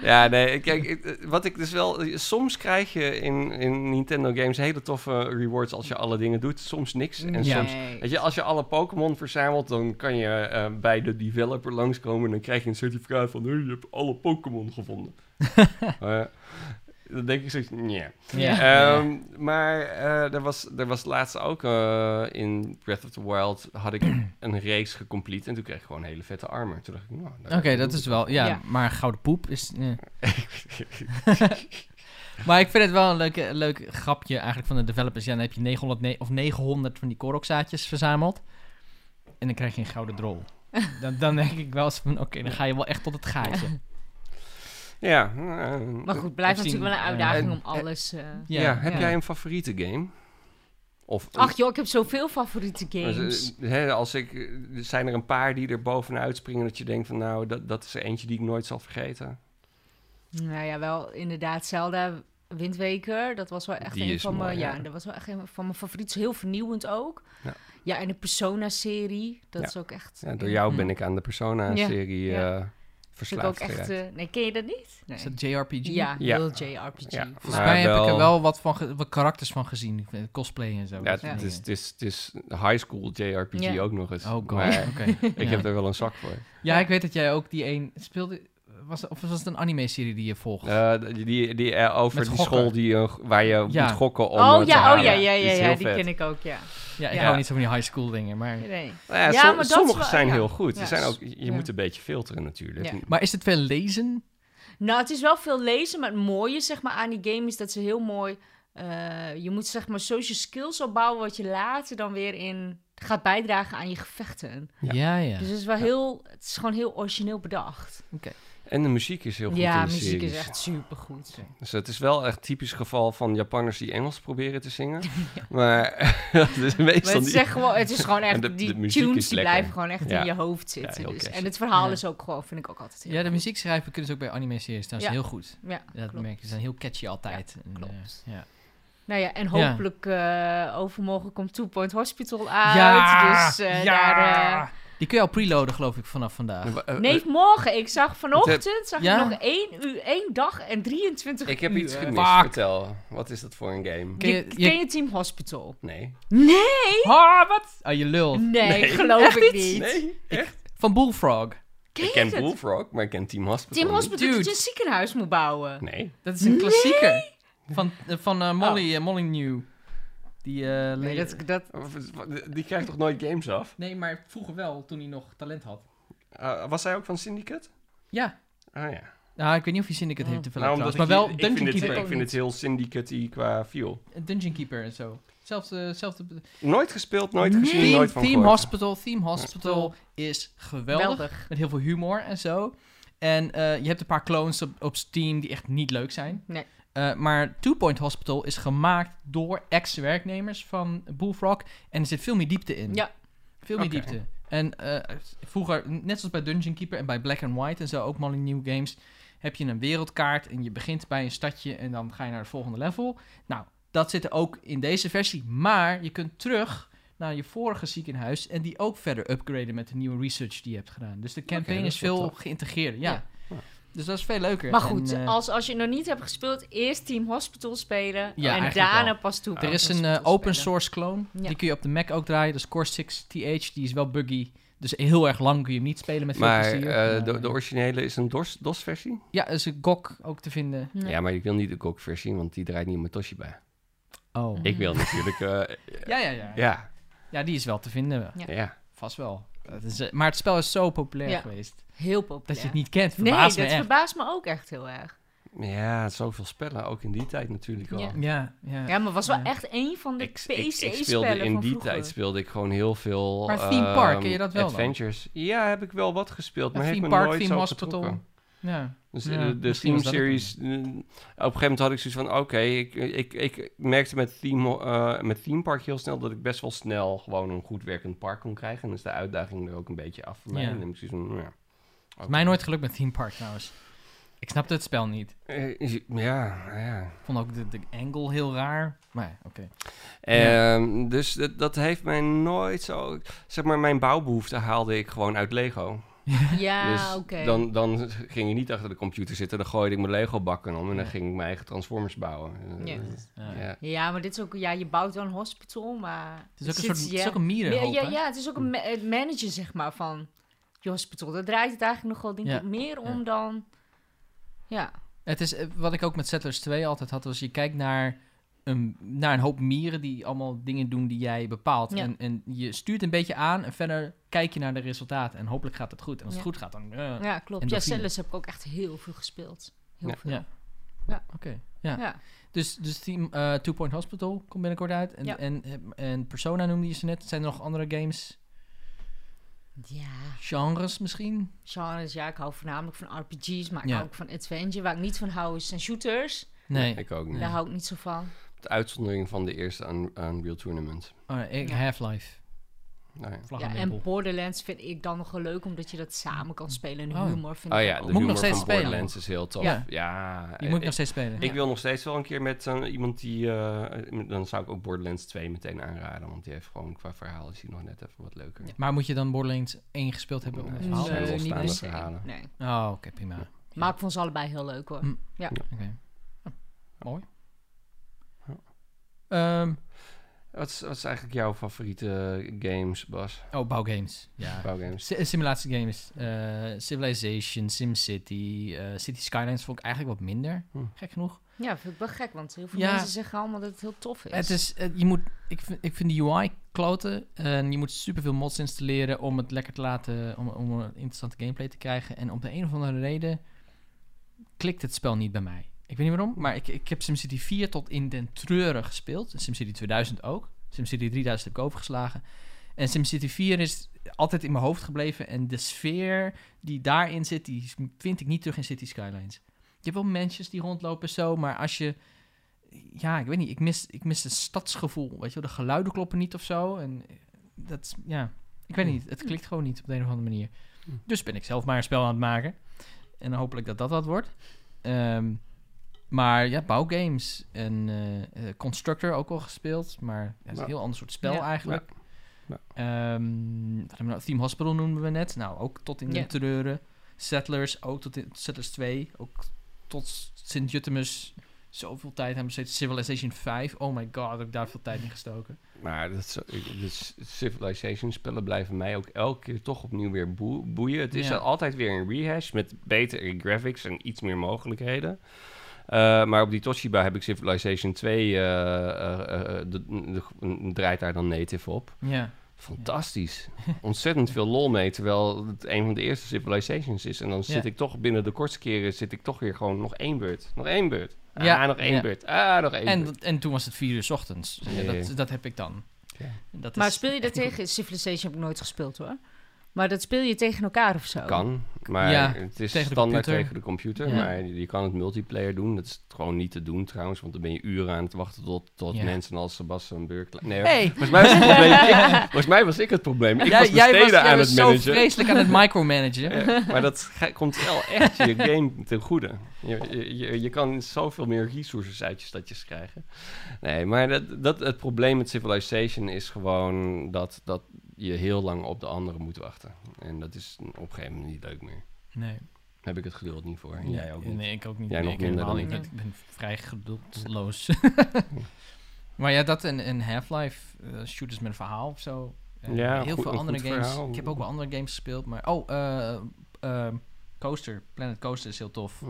[SPEAKER 1] Ja, nee, kijk, ik- wat ik dus wel... Soms krijg je in, in Nintendo games hele toffe rewards als je alle dingen doet. Soms niks. En
[SPEAKER 2] Ja.
[SPEAKER 1] soms... Weet je, als je alle Pokémon verzamelt, dan kan je eh, bij de developer langskomen... en dan krijg je een certificaat van... Hey, je hebt alle Pokémon gevonden. Eh, dan denk ik zoiets... Nee.
[SPEAKER 2] Ja.
[SPEAKER 1] Ehm, Maar eh, er, was, er was laatst ook eh, in Breath of the Wild had ik een race gecomplete en toen kreeg ik gewoon hele vette armor. Toen dacht ik, nou,
[SPEAKER 2] Oké, dat is wel... Ja,
[SPEAKER 3] Ja.
[SPEAKER 2] maar gouden poep is... eh. maar ik vind het wel een leuk, leuk grapje eigenlijk van de developers. Ja, dan heb je 900, ne- of 900 van die korokzaadjes verzameld. En dan krijg je een gouden drol. Dan, dan denk ik wel eens van... Oké, dan ga je wel echt tot het gaatje.
[SPEAKER 1] Ja.
[SPEAKER 3] Maar goed, blijft
[SPEAKER 2] Of zien,
[SPEAKER 3] natuurlijk wel een
[SPEAKER 2] eh,
[SPEAKER 3] uitdaging
[SPEAKER 1] en-
[SPEAKER 3] om alles. eh,
[SPEAKER 1] Ja, heb
[SPEAKER 2] ja.
[SPEAKER 1] jij een favoriete game? Of
[SPEAKER 3] Ach joh, ik heb zoveel favoriete games.
[SPEAKER 1] Als, hè, als ik, er zijn er een paar die er bovenuit springen dat je denkt van nou, dat, dat is er eentje die ik nooit zal vergeten.
[SPEAKER 3] Nou ja, wel inderdaad Zelda Wind Waker. Dat was wel echt
[SPEAKER 1] Die
[SPEAKER 3] een
[SPEAKER 1] is
[SPEAKER 3] van
[SPEAKER 1] mooi,
[SPEAKER 3] mijn. Ja,
[SPEAKER 1] ja.
[SPEAKER 3] dat was wel echt een van mijn favorieten. Heel vernieuwend ook.
[SPEAKER 1] Ja.
[SPEAKER 3] Ja, en de Persona serie. Dat
[SPEAKER 1] Ja.
[SPEAKER 3] is ook echt.
[SPEAKER 1] Ja, door jou
[SPEAKER 2] Hm.
[SPEAKER 1] ben ik aan de Persona-serie eh
[SPEAKER 3] Ja, dat is
[SPEAKER 1] verslaafd
[SPEAKER 3] ook echt.
[SPEAKER 1] geraakt.
[SPEAKER 3] eh, nee, ken je dat niet? Nee.
[SPEAKER 2] Is dat JRPG?
[SPEAKER 3] Ja,
[SPEAKER 1] Ja.
[SPEAKER 3] heel JRPG.
[SPEAKER 1] Ja.
[SPEAKER 3] Maar-
[SPEAKER 2] Volgens
[SPEAKER 1] Maar
[SPEAKER 2] mij heb ik
[SPEAKER 1] wel-
[SPEAKER 2] er wel wat, van ge- wat karakters van gezien. Ik vind Cosplay en zo.
[SPEAKER 1] Ja,
[SPEAKER 2] dat
[SPEAKER 1] het,
[SPEAKER 2] soort
[SPEAKER 1] het is,
[SPEAKER 2] dingen.
[SPEAKER 1] het, is, het is high school JRPG
[SPEAKER 3] Ja.
[SPEAKER 1] ook nog eens.
[SPEAKER 2] Oh god,
[SPEAKER 1] Maar
[SPEAKER 2] oké.
[SPEAKER 1] ik
[SPEAKER 2] ja.
[SPEAKER 1] heb er wel een zak voor.
[SPEAKER 2] ja, ik weet dat jij ook die een... Speelde... was, of was het een anime-serie die je volgt?
[SPEAKER 1] Eh, die, die, die, eh, over
[SPEAKER 2] Met
[SPEAKER 1] die
[SPEAKER 2] gokken.
[SPEAKER 1] school die, eh, waar je
[SPEAKER 2] Ja.
[SPEAKER 1] moet gokken om
[SPEAKER 3] oh
[SPEAKER 1] eh, te
[SPEAKER 3] ja, oh
[SPEAKER 1] halen.
[SPEAKER 3] ja, ja, ja,
[SPEAKER 1] Die is
[SPEAKER 3] ja,
[SPEAKER 1] heel
[SPEAKER 3] die
[SPEAKER 1] vet.
[SPEAKER 3] ken ik ook, ja.
[SPEAKER 2] ja, ik
[SPEAKER 3] ja.
[SPEAKER 2] hou niet zo van die high school dingen, maar...
[SPEAKER 3] Nee.
[SPEAKER 1] Nou ja,
[SPEAKER 3] Ja,
[SPEAKER 1] som-
[SPEAKER 3] maar dat is
[SPEAKER 1] sommige
[SPEAKER 3] wel-
[SPEAKER 1] zijn
[SPEAKER 3] ja.
[SPEAKER 1] heel goed. Er
[SPEAKER 3] Ja.
[SPEAKER 1] zijn ook, je
[SPEAKER 3] Ja.
[SPEAKER 1] moet een beetje filteren natuurlijk.
[SPEAKER 3] Ja.
[SPEAKER 2] Maar is het veel lezen?
[SPEAKER 3] Nou, het is wel veel lezen, maar het mooie zeg maar, aan die game is dat ze heel mooi... eh, je moet zeg maar social skills opbouwen, wat je later dan weer in gaat bijdragen aan je gevechten.
[SPEAKER 1] Ja.
[SPEAKER 2] Ja, ja.
[SPEAKER 3] Dus het is, wel heel, het is gewoon heel origineel bedacht.
[SPEAKER 1] En de muziek is heel goed
[SPEAKER 3] ja,
[SPEAKER 1] in de
[SPEAKER 3] muziek
[SPEAKER 1] series.
[SPEAKER 3] is echt supergoed.
[SPEAKER 1] Dus het is wel echt typisch geval van Japanners die Engels proberen te zingen. Maar dat is
[SPEAKER 3] Maar
[SPEAKER 1] meestal
[SPEAKER 3] het,
[SPEAKER 1] niet.
[SPEAKER 3] is echt gewoon, het is gewoon echt,
[SPEAKER 1] En de-
[SPEAKER 3] die
[SPEAKER 1] de muziek
[SPEAKER 3] tunes
[SPEAKER 1] is
[SPEAKER 3] die
[SPEAKER 1] lekker.
[SPEAKER 3] blijven gewoon echt
[SPEAKER 1] Ja.
[SPEAKER 3] in je hoofd
[SPEAKER 1] Ja,
[SPEAKER 3] zitten.
[SPEAKER 1] heel
[SPEAKER 3] dus.
[SPEAKER 1] catchy.
[SPEAKER 3] En het verhaal
[SPEAKER 2] Ja.
[SPEAKER 3] is ook gewoon, vind ik ook altijd heel
[SPEAKER 2] Ja, de
[SPEAKER 3] goed.
[SPEAKER 2] muziekschrijven kunnen ze ook bij anime-series trouwens
[SPEAKER 3] Ja.
[SPEAKER 2] heel goed.
[SPEAKER 3] Ja,
[SPEAKER 2] Dat
[SPEAKER 3] klopt.
[SPEAKER 2] merk je, ze zijn heel catchy altijd. En, eh,
[SPEAKER 3] klopt.
[SPEAKER 2] ja.
[SPEAKER 3] Nou ja, en
[SPEAKER 2] Ja.
[SPEAKER 3] hopelijk eh, overmorgen komt Two Point Hospital uit.
[SPEAKER 2] Ja,
[SPEAKER 3] dus eh,
[SPEAKER 2] ja.
[SPEAKER 3] daar... eh,
[SPEAKER 2] Die kun je al preloaden, geloof ik, vanaf vandaag.
[SPEAKER 1] Eh, eh,
[SPEAKER 3] Nee, morgen. Ik zag vanochtend zag
[SPEAKER 2] Ja.
[SPEAKER 3] ik nog één uur, één dag en 23
[SPEAKER 1] ik heb
[SPEAKER 3] uur.
[SPEAKER 1] iets gemist.
[SPEAKER 2] Fuck.
[SPEAKER 1] Vertel, wat is dat voor een game?
[SPEAKER 3] Ken je,
[SPEAKER 2] Je- je-
[SPEAKER 3] ken je Team Hospital?
[SPEAKER 1] Nee.
[SPEAKER 3] Nee!
[SPEAKER 2] Ah, wat? Ah, je lul.
[SPEAKER 3] Nee, geloof ik niet.
[SPEAKER 1] Nee? Echt?
[SPEAKER 2] Van Bullfrog.
[SPEAKER 1] ik
[SPEAKER 3] Ken je
[SPEAKER 1] ken
[SPEAKER 3] dat?
[SPEAKER 1] Bullfrog, maar ik ken Team Hospital.
[SPEAKER 3] Team
[SPEAKER 1] niet.
[SPEAKER 3] Hospital
[SPEAKER 2] Dude.
[SPEAKER 3] dat je een ziekenhuis moet bouwen.
[SPEAKER 1] Nee.
[SPEAKER 2] Dat is een klassieker. Van, eh, van eh, Molly, eh, Molly New. Die, eh,
[SPEAKER 3] Oh. Nee,
[SPEAKER 2] le-
[SPEAKER 3] dat, dat,
[SPEAKER 1] Die krijgt toch nooit games af?
[SPEAKER 2] nee, maar vroeger wel, toen hij nog talent had.
[SPEAKER 1] Eh, was hij ook van Syndicate?
[SPEAKER 2] Ja.
[SPEAKER 1] Ah ja.
[SPEAKER 2] Nou, ik weet niet of je
[SPEAKER 3] Oh.
[SPEAKER 2] Syndicate heeft te
[SPEAKER 1] Nou,
[SPEAKER 2] nou,
[SPEAKER 1] omdat
[SPEAKER 2] maar
[SPEAKER 1] ik-
[SPEAKER 2] wel
[SPEAKER 1] ik,
[SPEAKER 2] Dungeon
[SPEAKER 1] vind het,
[SPEAKER 2] Keeper.
[SPEAKER 1] ik vind het heel Syndicate qua feel.
[SPEAKER 2] Dungeon Keeper en zo. Zelfde... zelfde
[SPEAKER 1] Nooit gespeeld, nooit
[SPEAKER 3] Nee.
[SPEAKER 1] gezien,
[SPEAKER 2] theme,
[SPEAKER 1] nooit van
[SPEAKER 2] theme
[SPEAKER 1] gehoord.
[SPEAKER 2] Hospital. Theme Hospital is geweldig.
[SPEAKER 3] Geweldig.
[SPEAKER 2] Met heel veel humor en zo. En eh, je hebt een paar clones op, op Steam die echt niet leuk zijn.
[SPEAKER 3] Nee.
[SPEAKER 2] Eh, maar Two Point Hospital is gemaakt door ex-werknemers van Bullfrog. En er zit veel meer diepte in.
[SPEAKER 3] Ja.
[SPEAKER 2] Veel meer
[SPEAKER 1] Oké.
[SPEAKER 2] diepte. En eh, vroeger, net zoals bij Dungeon Keeper en bij Black and White en zo, ook Molly New Games, heb je een wereldkaart en je begint bij een stadje en dan ga je naar het volgende level. Nou, dat zit er ook in deze versie. Maar je kunt terug naar je vorige ziekenhuis en die ook verder upgraden met de nieuwe research die je hebt gedaan. Dus de campaign
[SPEAKER 1] dat
[SPEAKER 2] is,
[SPEAKER 1] is wel
[SPEAKER 2] veel
[SPEAKER 1] tof.
[SPEAKER 2] geïntegreerd. Ja.
[SPEAKER 3] Ja.
[SPEAKER 1] Ja.
[SPEAKER 2] Dus dat is veel leuker.
[SPEAKER 3] maar goed,
[SPEAKER 2] En, eh,
[SPEAKER 3] als, als je nog niet hebt gespeeld, eerst Team Hospital spelen.
[SPEAKER 2] Ja,
[SPEAKER 3] en
[SPEAKER 2] eigenlijk
[SPEAKER 3] daarna
[SPEAKER 2] wel.
[SPEAKER 3] pas toe.
[SPEAKER 2] er is een eh,
[SPEAKER 3] Hospital
[SPEAKER 2] open
[SPEAKER 3] spelen.
[SPEAKER 2] source clone.
[SPEAKER 3] Ja.
[SPEAKER 2] Die kun je op de Mac ook draaien. Dus Core 6 TH, die is wel buggy. Dus heel erg lang kun je hem niet spelen met veel
[SPEAKER 1] Maar
[SPEAKER 2] plezier.
[SPEAKER 1] eh,
[SPEAKER 2] Maar,
[SPEAKER 1] de, de originele is een DOS- DOS-versie?
[SPEAKER 2] Ja, er is een GOG ook te vinden.
[SPEAKER 3] Nee.
[SPEAKER 1] Ja, maar ik wil niet de GOG-versie, want die draait niet op mijn Toshiba.
[SPEAKER 2] Oh.
[SPEAKER 1] Ik wil natuurlijk... eh,
[SPEAKER 2] Ja, ja, ja. ja.
[SPEAKER 1] ja,
[SPEAKER 2] die is wel te vinden.
[SPEAKER 3] Ja.
[SPEAKER 1] ja.
[SPEAKER 2] Vast wel. Dat is, eh, maar het spel is zo populair
[SPEAKER 3] Ja.
[SPEAKER 2] geweest.
[SPEAKER 3] Heel
[SPEAKER 2] Dat
[SPEAKER 3] populair.
[SPEAKER 2] je het niet kent,
[SPEAKER 3] nee, dat
[SPEAKER 2] verbaast me echt.
[SPEAKER 3] verbaast me ook echt heel erg.
[SPEAKER 1] Ja, zoveel spellen, ook in die tijd natuurlijk al.
[SPEAKER 3] Ja.
[SPEAKER 2] Ja, ja.
[SPEAKER 3] Ja, maar was wel
[SPEAKER 2] Ja.
[SPEAKER 3] echt een van de
[SPEAKER 1] Ik, ik, ik
[SPEAKER 3] PCE-spellen
[SPEAKER 1] speelde
[SPEAKER 3] van
[SPEAKER 1] in die
[SPEAKER 3] vroeger.
[SPEAKER 1] tijd speelde ik gewoon heel veel.
[SPEAKER 2] Maar Theme Park,
[SPEAKER 1] ehm,
[SPEAKER 2] ken je dat wel dan?
[SPEAKER 1] Adventures. Ja, heb ik wel wat gespeeld, maar
[SPEAKER 2] Ja,
[SPEAKER 1] heeft me
[SPEAKER 2] Theme Park,
[SPEAKER 1] nooit
[SPEAKER 2] Theme
[SPEAKER 1] zo
[SPEAKER 2] Hospital.
[SPEAKER 1] getrokken.
[SPEAKER 2] ja.
[SPEAKER 1] Dus
[SPEAKER 2] Ja,
[SPEAKER 1] eh, de, de
[SPEAKER 2] misschien
[SPEAKER 1] Theme
[SPEAKER 2] was dat het
[SPEAKER 1] Series. eh, op een gegeven moment had ik zoiets van: oké, ik, ik, ik merkte met theme, eh, met theme Park heel snel dat ik best wel snel gewoon een goed werkend park kon krijgen. En dus de uitdaging er ook een beetje af voor mij.
[SPEAKER 2] Ja.
[SPEAKER 1] En dan heb ik zoiets van: ja. oké.
[SPEAKER 2] Mij nooit gelukt met Theme Park trouwens. Ik snapte het spel niet.
[SPEAKER 1] Eh, is- ja, ja.
[SPEAKER 2] Ik vond ook de, de angle heel raar. Maar ja, oké.
[SPEAKER 1] Ehm, dus dat, dat heeft mij nooit zo. Zeg maar, mijn bouwbehoefte haalde ik gewoon uit Lego.
[SPEAKER 3] Ja,
[SPEAKER 1] dus
[SPEAKER 3] Ah, oké.
[SPEAKER 1] dan, dan ging je niet achter de computer zitten, dan gooide ik mijn Lego bakken om en dan
[SPEAKER 2] Ja.
[SPEAKER 1] ging ik mijn eigen Transformers bouwen. Eh,
[SPEAKER 3] Ja.
[SPEAKER 2] Ja.
[SPEAKER 1] ja.
[SPEAKER 3] Ja, maar dit is ook, ja, je bouwt wel een hospital, maar.
[SPEAKER 2] Het is ook een
[SPEAKER 3] zit-
[SPEAKER 2] soort het
[SPEAKER 3] ja.
[SPEAKER 2] is ook een mierenhoop,
[SPEAKER 3] ja,
[SPEAKER 2] hè?
[SPEAKER 3] ja, het is ook een ma- het managen, zeg maar, van je hospital. Daar draait het eigenlijk nog wel denk
[SPEAKER 2] Ja.
[SPEAKER 3] ik, meer om dan. Ja,
[SPEAKER 2] Het is eh, wat ik ook met Settlers 2 altijd had, was je kijkt naar een, naar een hoop mieren die allemaal dingen doen die jij bepaalt.
[SPEAKER 3] Ja.
[SPEAKER 2] En, en je stuurt een beetje aan en verder kijk je naar de resultaten. En hopelijk gaat het goed. En als het
[SPEAKER 3] Ja.
[SPEAKER 2] goed gaat, dan... eh, Oké,
[SPEAKER 3] ja klopt. Ja,
[SPEAKER 2] Endorfine.
[SPEAKER 3] Cellus heb ik ook echt heel veel gespeeld. Heel
[SPEAKER 1] Ja.
[SPEAKER 3] veel.
[SPEAKER 2] Ja.
[SPEAKER 3] Ja.
[SPEAKER 2] ja.
[SPEAKER 3] Ja.
[SPEAKER 2] Dus, dus team, eh, Two Point Hospital komt binnenkort uit. En,
[SPEAKER 3] Ja.
[SPEAKER 2] en, en Persona noemde je ze net. Zijn er nog andere games? Genres misschien?
[SPEAKER 3] genres, ja, ik hou voornamelijk van RPG's, maar ik
[SPEAKER 2] Ja.
[SPEAKER 3] hou ook van adventure. Waar ik niet van hou, zijn shooters.
[SPEAKER 2] Nee.
[SPEAKER 1] Ik ook niet.
[SPEAKER 3] Daar hou ik niet zo van.
[SPEAKER 1] De uitzondering van de eerste Un- Unreal Tournament.
[SPEAKER 2] Oh, ik-
[SPEAKER 3] Ja.
[SPEAKER 2] Half-Life.
[SPEAKER 1] Nou ja.
[SPEAKER 2] Vlag
[SPEAKER 3] Ja,
[SPEAKER 2] en
[SPEAKER 3] en
[SPEAKER 2] wimpel.
[SPEAKER 3] Borderlands vind ik dan nog wel leuk, omdat je dat samen kan spelen. En
[SPEAKER 2] Oh.
[SPEAKER 3] humor vind
[SPEAKER 1] Oh
[SPEAKER 3] ik
[SPEAKER 1] ja,
[SPEAKER 3] ook.
[SPEAKER 1] de
[SPEAKER 2] Moet ik
[SPEAKER 1] humor
[SPEAKER 2] nog steeds
[SPEAKER 1] van
[SPEAKER 2] spelen?
[SPEAKER 1] Borderlands is heel tof.
[SPEAKER 2] Ja.
[SPEAKER 1] Ja, eh,
[SPEAKER 2] Die moet ik
[SPEAKER 1] ik,
[SPEAKER 2] nog steeds spelen.
[SPEAKER 1] ik wil nog steeds wel een keer met eh, iemand die... eh, dan zou ik ook Borderlands 2 meteen aanraden, want die heeft gewoon qua verhaal is die nog net even wat leuker.
[SPEAKER 2] Maar moet je dan Borderlands 1 gespeeld hebben om het
[SPEAKER 1] Nee.
[SPEAKER 2] verhaal te
[SPEAKER 1] zijn
[SPEAKER 3] Nee, niet
[SPEAKER 1] losstaande
[SPEAKER 3] per se.
[SPEAKER 1] verhalen.
[SPEAKER 3] Nee.
[SPEAKER 2] Oh, oké, prima.
[SPEAKER 1] Ja.
[SPEAKER 3] Maar ik vond ze allebei heel leuk hoor.
[SPEAKER 2] Mm.
[SPEAKER 3] Ja.
[SPEAKER 2] Oké. Ah, mooi.
[SPEAKER 1] Ja.
[SPEAKER 2] Ehm,
[SPEAKER 1] Eh, Wat is, wat is eigenlijk jouw favoriete games, Bas?
[SPEAKER 2] Oh, bouwgames. Ja.
[SPEAKER 1] Bouwgames.
[SPEAKER 2] Si- Simulatiegames. eh, Civilization, SimCity, eh, City Skylines vond ik eigenlijk wat minder.
[SPEAKER 1] Hm.
[SPEAKER 2] Gek genoeg.
[SPEAKER 3] Ja, vind ik wel gek, want heel veel
[SPEAKER 2] Ja.
[SPEAKER 3] mensen zeggen allemaal dat het heel tof is.
[SPEAKER 2] Het is, eh, je moet, ik, vind, ik vind de UI kloten. En je moet superveel mods installeren om het lekker te laten, om, om een interessante gameplay te krijgen. En om de een of andere reden klikt het spel niet bij mij. Ik weet niet waarom, maar ik, ik heb SimCity 4 tot in den treuren gespeeld. En SimCity 2000 ook. SimCity 3000 heb ik overgeslagen. En SimCity 4 is altijd in mijn hoofd gebleven. En de sfeer die daarin zit, die vind ik niet terug in City Skylines. Je hebt wel mensjes die rondlopen zo, maar als je ja, ik weet niet. Ik mis, ik mis het stadsgevoel. Weet je wel, de geluiden kloppen niet of zo. En eh, dat, is- ja, ik weet niet. Het klikt gewoon niet op de een of andere manier.
[SPEAKER 1] Hmm.
[SPEAKER 2] Dus ben ik zelf maar een spel aan het maken. En hopelijk dat dat wat wordt. Ehm, maar ja, bouwgames en eh, eh, Constructor ook wel gespeeld. Maar ja, het is een
[SPEAKER 1] Ja.
[SPEAKER 2] heel ander soort spel
[SPEAKER 3] Ja.
[SPEAKER 2] eigenlijk.
[SPEAKER 1] Ja.
[SPEAKER 2] Ehm, wat hebben we nou? Theme Hospital noemden we net. Nou, ook tot in
[SPEAKER 3] Ja.
[SPEAKER 2] de treuren. Settlers, ook tot in Settlers 2. Ook tot Sint-Jutemus zoveel tijd hebben steeds Civilization 5. Oh my god, heb ik daar veel tijd in gestoken.
[SPEAKER 1] Maar dat is- ik- dus Civilization-spellen blijven mij ook elke keer toch opnieuw weer boe- boeien. Het is
[SPEAKER 2] Ja.
[SPEAKER 1] altijd weer een rehash met betere graphics en iets meer mogelijkheden. Eh, maar op die Toshiba heb ik Civilization 2, eh, eh, eh, de- de- draait daar dan native op.
[SPEAKER 2] Ja.
[SPEAKER 1] Fantastisch. Ontzettend veel lol mee, terwijl het een van de eerste Civilizations is. En dan zit
[SPEAKER 2] Ja.
[SPEAKER 1] ik toch binnen de kortste keren, zit ik toch weer gewoon nog één beurt. Nog één beurt. Ah,
[SPEAKER 2] Ja,
[SPEAKER 1] nog één
[SPEAKER 2] ja.
[SPEAKER 1] beurt. Ah, nog één beurt.
[SPEAKER 2] En, en toen was het 4 uur 's ochtends.
[SPEAKER 1] Ja, ja, ja.
[SPEAKER 2] Dat, dat heb ik dan.
[SPEAKER 1] Ja.
[SPEAKER 2] Dat
[SPEAKER 3] maar
[SPEAKER 2] is
[SPEAKER 3] speel je dat
[SPEAKER 2] echt niet
[SPEAKER 3] tegen? Civilization heb ik nooit gespeeld hoor. Maar dat speel je tegen elkaar of zo?
[SPEAKER 1] Kan, maar
[SPEAKER 2] Ja,
[SPEAKER 1] het is
[SPEAKER 2] tegen de
[SPEAKER 1] standaard
[SPEAKER 2] computer.
[SPEAKER 1] tegen de computer.
[SPEAKER 2] Ja.
[SPEAKER 1] Maar je, je kan het multiplayer doen. Dat is gewoon niet te doen trouwens, want dan ben je uren aan het wachten tot, tot
[SPEAKER 2] Ja.
[SPEAKER 1] mensen als Sebastian Burk... Nee,
[SPEAKER 2] goed. Hey,
[SPEAKER 1] volgens, mij was het probleem, ik, volgens mij was ik het probleem. Ik
[SPEAKER 2] jij,
[SPEAKER 1] was de
[SPEAKER 2] jij was,
[SPEAKER 1] steden
[SPEAKER 2] jij
[SPEAKER 1] aan
[SPEAKER 2] was
[SPEAKER 1] het
[SPEAKER 2] zo
[SPEAKER 1] managen.
[SPEAKER 2] vreselijk aan het micromanagen.
[SPEAKER 1] Ja, Eh, maar dat ge- komt wel echt je game ten goede. Je, je- je, je kan zoveel meer resources uit je stadjes krijgen. Nee, maar dat, dat, het probleem met Civilization is gewoon dat, dat je heel lang op de anderen moet wachten. En dat is op een gegeven moment niet leuk meer.
[SPEAKER 2] Nee.
[SPEAKER 1] Daar heb ik het geduld niet voor. En jij ook niet.
[SPEAKER 2] Nee, ik ook niet.
[SPEAKER 1] Jij
[SPEAKER 2] nee,
[SPEAKER 1] nog
[SPEAKER 2] ik
[SPEAKER 1] minder
[SPEAKER 2] helemaal
[SPEAKER 1] dan
[SPEAKER 2] niet.
[SPEAKER 3] ik.
[SPEAKER 2] Ik ben vrij geduldloos. maar ja, dat en, en Half-Life, eh, shooters met een verhaal of zo. Eh,
[SPEAKER 1] Ja,
[SPEAKER 2] heel
[SPEAKER 1] goed-
[SPEAKER 2] veel
[SPEAKER 1] een
[SPEAKER 2] andere
[SPEAKER 1] goed
[SPEAKER 2] games.
[SPEAKER 1] verhaal.
[SPEAKER 2] Ik heb ook wel andere games gespeeld, maar oh, eh, eh, Coaster, Planet Coaster is heel tof.
[SPEAKER 1] Hm.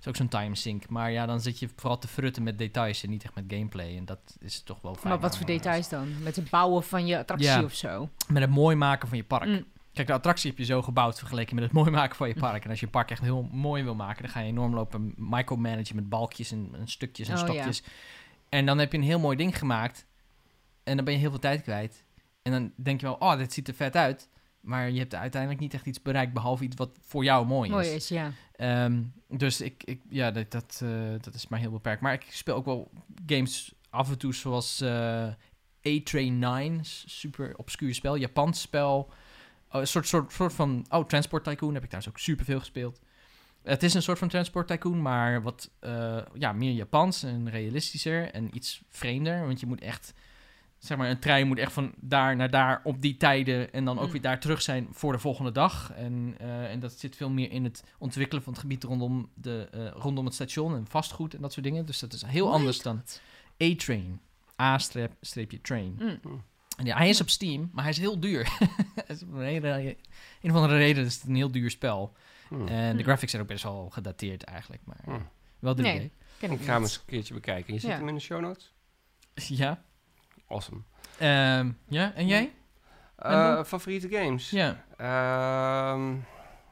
[SPEAKER 2] is ook zo'n time sync, maar ja, dan zit je vooral te frutten met details en niet echt met gameplay en dat is toch wel fijn.
[SPEAKER 3] Maar wat voor details dan? Met het bouwen van je attractie
[SPEAKER 2] Ja.
[SPEAKER 3] of zo?
[SPEAKER 2] Met het mooi maken van je park.
[SPEAKER 3] Mm.
[SPEAKER 2] Kijk, de attractie heb je zo gebouwd vergeleken met het mooi maken van je park. En als je je park echt heel mooi wil maken, dan ga je enorm lopen micromanagen met balkjes en, en stukjes en
[SPEAKER 3] Oh,
[SPEAKER 2] stokjes. En dan heb je een heel mooi ding gemaakt. En dan ben je heel veel tijd kwijt. En dan denk je wel, oh, dit ziet er vet uit. Maar je hebt uiteindelijk niet echt iets bereikt, behalve iets wat voor jou mooi is.
[SPEAKER 3] Mooi is, ja.
[SPEAKER 2] Ehm, dus ik, ik ja, dat, dat, eh, dat is maar heel beperkt. Maar ik speel ook wel games af en toe zoals eh, A-Train 9, s- super obscuur spel, Japans spel. Oh, een soort, soort, soort van, oh, Transport Tycoon heb ik trouwens ook super veel gespeeld. Het is een soort van Transport Tycoon, maar wat eh, ja, meer Japans en realistischer en iets vreemder. Want je moet echt, zeg maar, een trein moet echt van daar naar daar op die tijden en dan ook
[SPEAKER 3] Mm.
[SPEAKER 2] weer daar terug zijn voor de volgende dag. En, eh, en dat zit veel meer in het ontwikkelen van het gebied rondom, de, eh, rondom het station en vastgoed en dat soort dingen. Dus dat is heel
[SPEAKER 3] Hoe
[SPEAKER 2] anders
[SPEAKER 3] heet
[SPEAKER 2] dan A-Train. A-train.
[SPEAKER 3] Mm.
[SPEAKER 2] En ja, hij is op Steam, maar hij is heel duur. Hij is om een, hele, een of andere reden is het een heel duur spel.
[SPEAKER 1] Hm.
[SPEAKER 2] En de
[SPEAKER 3] Hmm.
[SPEAKER 2] graphics zijn ook best wel gedateerd eigenlijk, maar
[SPEAKER 1] Hm.
[SPEAKER 2] wel dit
[SPEAKER 3] Nee.
[SPEAKER 2] idee.
[SPEAKER 3] Ken
[SPEAKER 1] Ik ga hem eens een keertje bekijken. Je zet
[SPEAKER 3] Ja.
[SPEAKER 1] hem in de show notes?
[SPEAKER 2] Ja.
[SPEAKER 1] Awesome.
[SPEAKER 2] Ehm, ja, en jij?
[SPEAKER 1] Eh,
[SPEAKER 2] dan?
[SPEAKER 1] favoriete games?
[SPEAKER 2] Ja.
[SPEAKER 1] Ehm,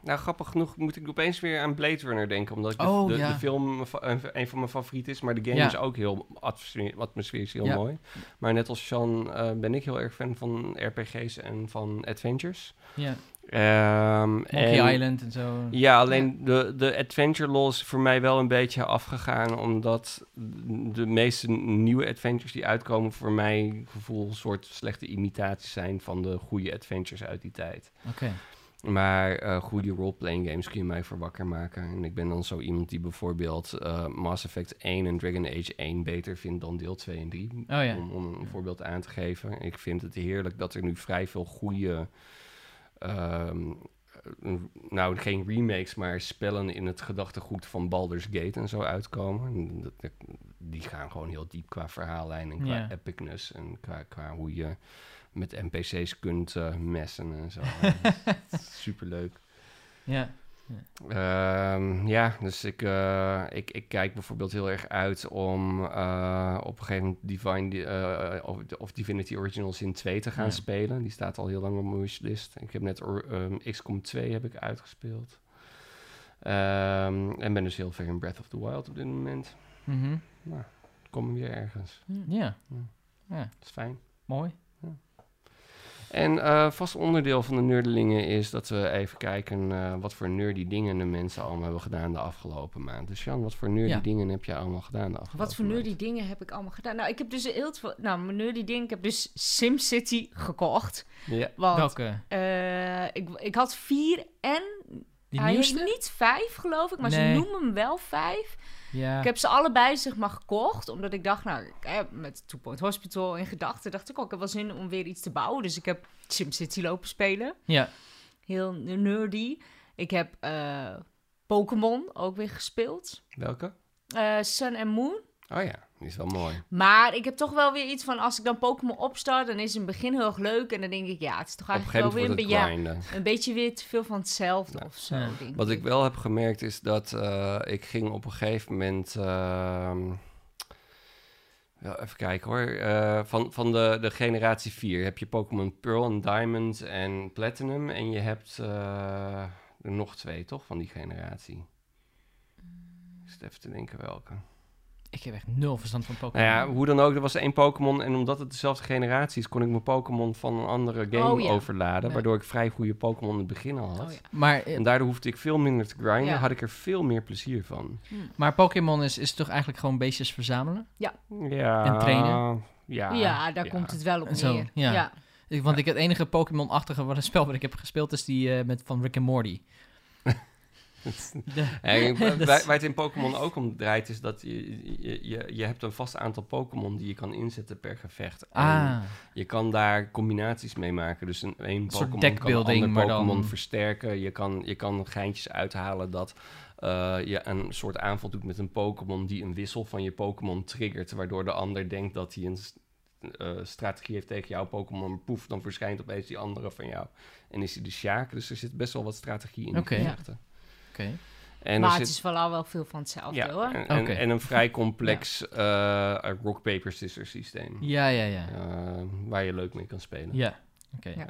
[SPEAKER 1] nou, grappig genoeg moet ik opeens weer aan Blade Runner denken. Omdat ik de,
[SPEAKER 2] Oh,
[SPEAKER 1] de,
[SPEAKER 2] ja.
[SPEAKER 1] de film mijn fa- een, een van mijn favorieten is. Maar de game
[SPEAKER 2] Ja.
[SPEAKER 1] is ook heel atmosfe- atmosferisch, heel
[SPEAKER 2] Ja.
[SPEAKER 1] mooi. Maar net als Sean eh, ben ik heel erg fan van RPG's en van adventures.
[SPEAKER 2] ja.
[SPEAKER 1] Eh, Ehm,
[SPEAKER 2] Monkey
[SPEAKER 1] en-
[SPEAKER 2] Island en zo.
[SPEAKER 1] Ja, alleen De, de adventure law is voor mij wel een beetje afgegaan. Omdat de meeste nieuwe adventures die uitkomen... voor mijn gevoel een soort slechte imitaties zijn... van de goede adventures uit die tijd.
[SPEAKER 2] Oké.
[SPEAKER 1] Maar eh, goede roleplaying games kun je mij voor wakker maken. En ik ben dan zo iemand die bijvoorbeeld eh, Mass Effect 1 en Dragon Age 1 beter vindt dan deel 2 en 3.
[SPEAKER 2] Oh ja.
[SPEAKER 1] Om, om een
[SPEAKER 2] Ja.
[SPEAKER 1] voorbeeld aan te geven. Ik vind het heerlijk dat er nu vrij veel goede. ehm, eh, nou, geen remakes, maar spellen in het gedachtegoed van Baldur's Gate en zo uitkomen. En dat- dat- die gaan gewoon heel diep qua verhaallijn en qua
[SPEAKER 2] Ja.
[SPEAKER 1] epicness en qua, qua hoe je met NPC's kunt eh, messen en zo. Superleuk.
[SPEAKER 2] Ja.
[SPEAKER 1] Ehm, ja, dus ik, eh, ik, ik kijk bijvoorbeeld heel erg uit om eh, op een gegeven moment Divine, Di- eh, of, of Divinity Original Sin 2 te gaan
[SPEAKER 2] Ja.
[SPEAKER 1] spelen. Die staat al heel lang op mijn wishlist. Ik heb net or- ehm, XCOM 2 heb ik uitgespeeld. Ehm, en ben dus heel ver in Breath of the Wild op dit moment.
[SPEAKER 2] Mhm.
[SPEAKER 1] Nou, kom weer ergens.
[SPEAKER 2] Ja.
[SPEAKER 1] Dat is fijn.
[SPEAKER 2] Mooi.
[SPEAKER 1] En eh, vast onderdeel van de nerdelingen is dat we even kijken eh, wat voor nerdy dingen de mensen allemaal hebben gedaan de afgelopen maand. Dus Jan, wat voor nerdy
[SPEAKER 2] Ja.
[SPEAKER 1] dingen heb je allemaal gedaan de afgelopen
[SPEAKER 3] Wat voor nerdy dingen heb ik allemaal gedaan? Nou, ik heb dus heel veel... Nou, mijn nerdy ding... Ik heb dus SimCity gekocht.
[SPEAKER 1] maand? Ja.
[SPEAKER 3] Want
[SPEAKER 2] Welke?
[SPEAKER 3] eh, ik, ik had vier en...
[SPEAKER 2] Die
[SPEAKER 3] hij
[SPEAKER 2] nieuwste?
[SPEAKER 3] heeft niet vijf, geloof ik. Maar
[SPEAKER 2] Nee.
[SPEAKER 3] ze noemen hem wel vijf.
[SPEAKER 2] Ja.
[SPEAKER 3] Ik heb ze allebei zeg maar gekocht, omdat ik dacht, nou, ik heb met Two Point Hospital in gedachten dacht ik ook, ik heb wel zin om weer iets te bouwen. Dus ik heb SimCity lopen spelen,
[SPEAKER 2] ja.
[SPEAKER 3] heel nerdy. Ik heb eh, Pokémon ook weer gespeeld,
[SPEAKER 1] Welke?
[SPEAKER 3] Eh, Sun and Moon.
[SPEAKER 1] Oh ja, die is wel mooi.
[SPEAKER 3] Maar ik heb toch wel weer iets van, als ik dan Pokémon opstart, dan is het in het begin heel erg leuk. En dan denk ik, ja, het is toch
[SPEAKER 1] Op een
[SPEAKER 3] eigenlijk
[SPEAKER 1] gegeven
[SPEAKER 3] wel weer
[SPEAKER 1] moment wordt het
[SPEAKER 3] een, beja-
[SPEAKER 1] grinden.
[SPEAKER 3] een beetje weer te veel van hetzelfde
[SPEAKER 1] Ja.
[SPEAKER 3] of zo.
[SPEAKER 2] Ja.
[SPEAKER 3] denk
[SPEAKER 1] Wat ik wel heb gemerkt is dat eh, ik ging op een gegeven moment... ehm, wel even kijken hoor. eh, van van de, de generatie 4 heb je Pokémon Pearl en Diamond en Platinum. En je hebt eh, er nog twee, toch? Van die generatie. Ik zit even te denken welke.
[SPEAKER 2] Ik heb echt nul verstand van Pokémon.
[SPEAKER 1] Nou ja, hoe dan ook, er was één Pokémon. En omdat het dezelfde generatie is, kon ik mijn Pokémon van een andere game
[SPEAKER 3] Oh, ja.
[SPEAKER 1] overladen.
[SPEAKER 2] Ja.
[SPEAKER 1] Waardoor ik vrij goede Pokémon in het begin al had.
[SPEAKER 3] Oh, ja.
[SPEAKER 2] Maar, eh,
[SPEAKER 1] En daardoor hoefde ik veel minder te grinden.
[SPEAKER 3] Ja.
[SPEAKER 1] Had ik er veel meer plezier van.
[SPEAKER 2] maar Pokémon is, is toch eigenlijk gewoon beestjes verzamelen?
[SPEAKER 1] Ja.
[SPEAKER 2] En trainen?
[SPEAKER 1] Ja,
[SPEAKER 3] ja, daar komt het wel op
[SPEAKER 2] En zo,
[SPEAKER 3] neer.
[SPEAKER 2] ja.
[SPEAKER 3] ja.
[SPEAKER 2] Ik- Want ik, het enige Pokémon-achtige wat een spel wat ik heb gespeeld is die eh, met, van Rick en Morty. De-
[SPEAKER 1] En
[SPEAKER 2] Dat
[SPEAKER 3] Dus-
[SPEAKER 1] waar,
[SPEAKER 2] is-
[SPEAKER 1] waar het in Pokémon ook om draait, is dat je, je, je, je hebt een vast aantal Pokémon die je kan inzetten per gevecht. En
[SPEAKER 2] ah,
[SPEAKER 1] Je kan daar combinaties mee maken. Dus een, een
[SPEAKER 2] soort
[SPEAKER 1] Pokémon kan een
[SPEAKER 2] deckbuilding,
[SPEAKER 1] ander
[SPEAKER 2] maar dan-
[SPEAKER 1] Pokémon versterken. Je kan, je kan geintjes uithalen dat eh, je een soort aanval doet met een Pokémon... die een wissel van je Pokémon triggert... waardoor de ander denkt dat hij een s- eh, strategie heeft tegen jouw Pokémon. Maar Poef, dan verschijnt opeens die andere van jou. En is hij de Sjaak. Dus er zit best wel wat strategie in die
[SPEAKER 2] Oké.
[SPEAKER 1] gevechten.
[SPEAKER 2] oké.
[SPEAKER 1] En
[SPEAKER 3] maar
[SPEAKER 1] er
[SPEAKER 3] het
[SPEAKER 1] zit-
[SPEAKER 3] is vooral wel veel van hetzelfde
[SPEAKER 1] ja,
[SPEAKER 3] hoor.
[SPEAKER 1] en, en-
[SPEAKER 2] Oké.
[SPEAKER 1] en een vrij complex eh, rock, paper, scissors systeem.
[SPEAKER 2] Ja, ja, ja.
[SPEAKER 1] eh, waar je leuk mee kan spelen.
[SPEAKER 2] Ja, oké.
[SPEAKER 3] Ja.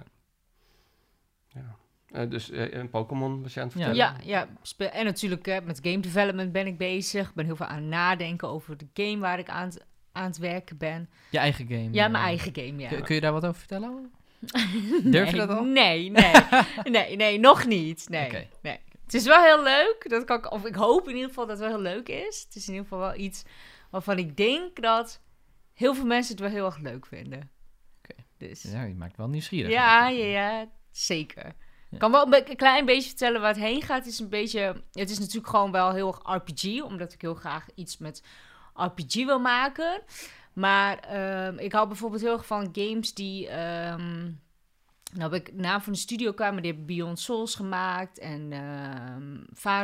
[SPEAKER 1] Eh, dus eh, een Pokémon was je aan het
[SPEAKER 2] Ja.
[SPEAKER 1] vertellen?
[SPEAKER 3] Ja, ja spe- en natuurlijk hè, met game development ben ik bezig. ben heel veel aan het nadenken over de game waar ik aan het, aan het werken ben.
[SPEAKER 2] Je eigen game.
[SPEAKER 3] Ja,
[SPEAKER 2] eh.
[SPEAKER 3] mijn eigen game, ja.
[SPEAKER 2] Kun, kun je daar wat over vertellen? Durf je
[SPEAKER 3] Nee,
[SPEAKER 2] dat al?
[SPEAKER 3] Nee, nee, nee, nee, nog niet. Nee,
[SPEAKER 2] Oké.
[SPEAKER 3] nee. Het is wel heel leuk. Dat kan ik, of ik hoop in ieder geval dat het wel heel leuk is. Het is in ieder geval wel iets waarvan ik denk dat heel veel mensen het wel heel erg leuk vinden.
[SPEAKER 2] Oké.
[SPEAKER 3] Dus.
[SPEAKER 2] Ja, je maakt wel nieuwsgierig.
[SPEAKER 3] Ja, ja, ja, zeker.
[SPEAKER 2] Ja.
[SPEAKER 3] Ik kan wel een, be- een klein beetje vertellen waar het heen gaat. Het is een beetje, het is natuurlijk gewoon wel heel erg RPG, omdat ik heel graag iets met RPG wil maken. Maar ehm, ik hou bijvoorbeeld heel erg van games die. ehm nou, heb ik de naam van de studio kwamen, die hebben Beyond Souls gemaakt en ehm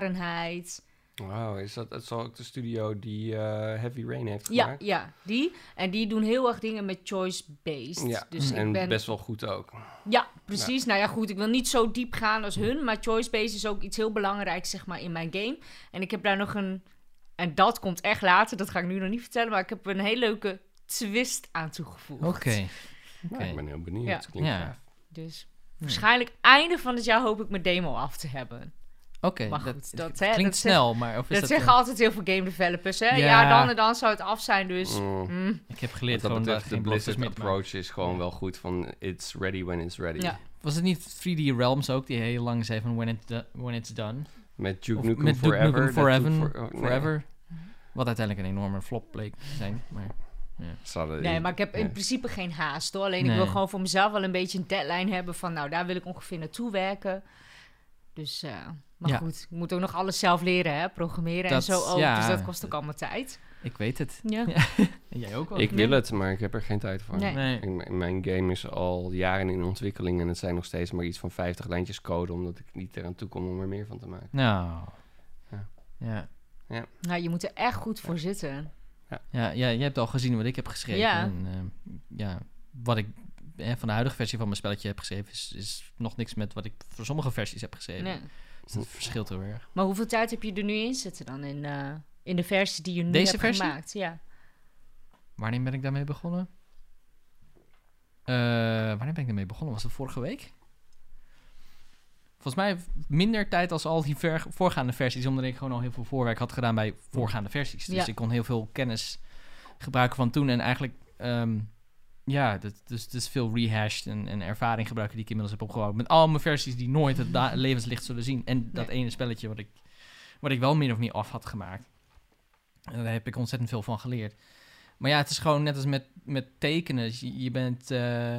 [SPEAKER 3] Fahrenheit.
[SPEAKER 1] Wauw, is dat, dat is ook de studio die eh, Heavy Rain heeft
[SPEAKER 3] Ja,
[SPEAKER 1] gemaakt?
[SPEAKER 3] ja, die. En die doen heel erg dingen met choice-based.
[SPEAKER 1] Ja,
[SPEAKER 3] dus
[SPEAKER 1] en
[SPEAKER 3] ik ben
[SPEAKER 1] best wel goed ook.
[SPEAKER 3] Ja, precies. Nou ja, goed, ik wil niet zo diep gaan als hun, maar choice-based is ook iets heel belangrijks, zeg maar, in mijn game. En ik heb daar nog een, en dat komt echt later, dat ga ik nu nog niet vertellen, maar ik heb een hele leuke twist aan toegevoegd.
[SPEAKER 2] Oké.
[SPEAKER 1] Nou,
[SPEAKER 2] Oké.
[SPEAKER 1] ik ben heel benieuwd.
[SPEAKER 3] Ja.
[SPEAKER 1] Het klinkt
[SPEAKER 2] Ja.
[SPEAKER 1] gaaf.
[SPEAKER 3] Dus waarschijnlijk einde van het jaar hoop ik mijn demo af te hebben.
[SPEAKER 2] Oké,
[SPEAKER 3] Maar
[SPEAKER 2] dat,
[SPEAKER 3] goed,
[SPEAKER 2] dat
[SPEAKER 3] dat, hè,
[SPEAKER 2] klinkt
[SPEAKER 3] dat zegt-
[SPEAKER 2] snel, maar of is
[SPEAKER 3] Dat,
[SPEAKER 2] dat...
[SPEAKER 3] zeggen
[SPEAKER 2] eh,
[SPEAKER 3] altijd heel veel game developers, hè?
[SPEAKER 2] Ja.
[SPEAKER 3] Ja. dan en dan zou het af zijn, dus...
[SPEAKER 1] Mm.
[SPEAKER 3] mm.
[SPEAKER 2] ik heb
[SPEAKER 1] Wat
[SPEAKER 2] geleerd
[SPEAKER 1] dat
[SPEAKER 2] gewoon dat
[SPEAKER 1] betreft, de
[SPEAKER 2] geen blisters
[SPEAKER 1] Blizzard
[SPEAKER 2] meer te maken.
[SPEAKER 1] approach is gewoon wel goed van it's ready when it's ready.
[SPEAKER 3] Ja.
[SPEAKER 2] Was het niet 3D Realms ook, die heel lang zei van when, it do- when it's done?
[SPEAKER 1] Met Duke
[SPEAKER 2] Of
[SPEAKER 1] Nukem
[SPEAKER 2] met Duke
[SPEAKER 1] Forever.
[SPEAKER 2] Nukem
[SPEAKER 1] dat doet
[SPEAKER 2] Forever.
[SPEAKER 1] voor- oh, nee.
[SPEAKER 2] Forever. Wat uiteindelijk een enorme flop bleek te zijn. Maar
[SPEAKER 1] Ze hadden-
[SPEAKER 3] Nee, maar ik heb
[SPEAKER 1] Ja.
[SPEAKER 3] in principe geen haast, hoor. Alleen ik
[SPEAKER 2] Nee.
[SPEAKER 3] wil gewoon voor mezelf wel een beetje een deadline hebben van... nou, daar wil ik ongeveer naartoe werken. Dus, eh, maar
[SPEAKER 2] Ja.
[SPEAKER 3] goed, ik moet ook nog alles zelf leren, hè. Programmeren
[SPEAKER 2] Dat-
[SPEAKER 3] en zo ook.
[SPEAKER 2] ja.
[SPEAKER 3] Dus dat kost ook allemaal tijd.
[SPEAKER 2] ik weet het.
[SPEAKER 3] Ja.
[SPEAKER 2] Ja. En jij ook wel?
[SPEAKER 1] Ik
[SPEAKER 3] Nee.
[SPEAKER 1] wil het, maar ik heb er geen tijd voor.
[SPEAKER 3] Nee.
[SPEAKER 2] Nee.
[SPEAKER 1] Ik- m- mijn game is al jaren in ontwikkeling en het zijn nog steeds maar iets van 50 lijntjes code, omdat ik niet eraan toe kom om er meer van te maken.
[SPEAKER 2] Nou.
[SPEAKER 1] Ja.
[SPEAKER 2] Ja.
[SPEAKER 3] Nou, je moet er echt goed voor zitten.
[SPEAKER 2] Ja, ja, jij hebt al gezien wat ik heb geschreven.
[SPEAKER 3] Ja.
[SPEAKER 2] En, eh, ja, wat ik eh, van de huidige versie van mijn spelletje heb geschreven... Is, is nog niks met wat ik voor sommige versies heb geschreven.
[SPEAKER 3] Nee.
[SPEAKER 2] Dus dat verschilt heel erg.
[SPEAKER 3] Maar hoeveel tijd heb je er nu in zitten dan in, eh, in de versie die je nu
[SPEAKER 2] Deze
[SPEAKER 3] hebt
[SPEAKER 2] versie?
[SPEAKER 3] gemaakt? Ja.
[SPEAKER 2] Wanneer ben ik daarmee begonnen? Eh, wanneer ben ik daarmee begonnen? Was dat vorige week? Volgens mij minder tijd als al die ver- voorgaande versies, omdat ik gewoon al heel veel voorwerk had gedaan bij voorgaande versies. Dus
[SPEAKER 3] Ja.
[SPEAKER 2] ik kon heel veel kennis gebruiken van toen. En eigenlijk, ehm, ja, dat, dus, dus veel rehashed en, en ervaring gebruiken die ik inmiddels heb opgebouwd. Met al mijn versies die nooit het da- levenslicht zullen zien. En dat ene spelletje wat ik, wat ik wel min of meer af had gemaakt. En daar heb ik ontzettend veel van geleerd. Maar ja, het is gewoon net als met, met tekenen. Je, je bent, eh,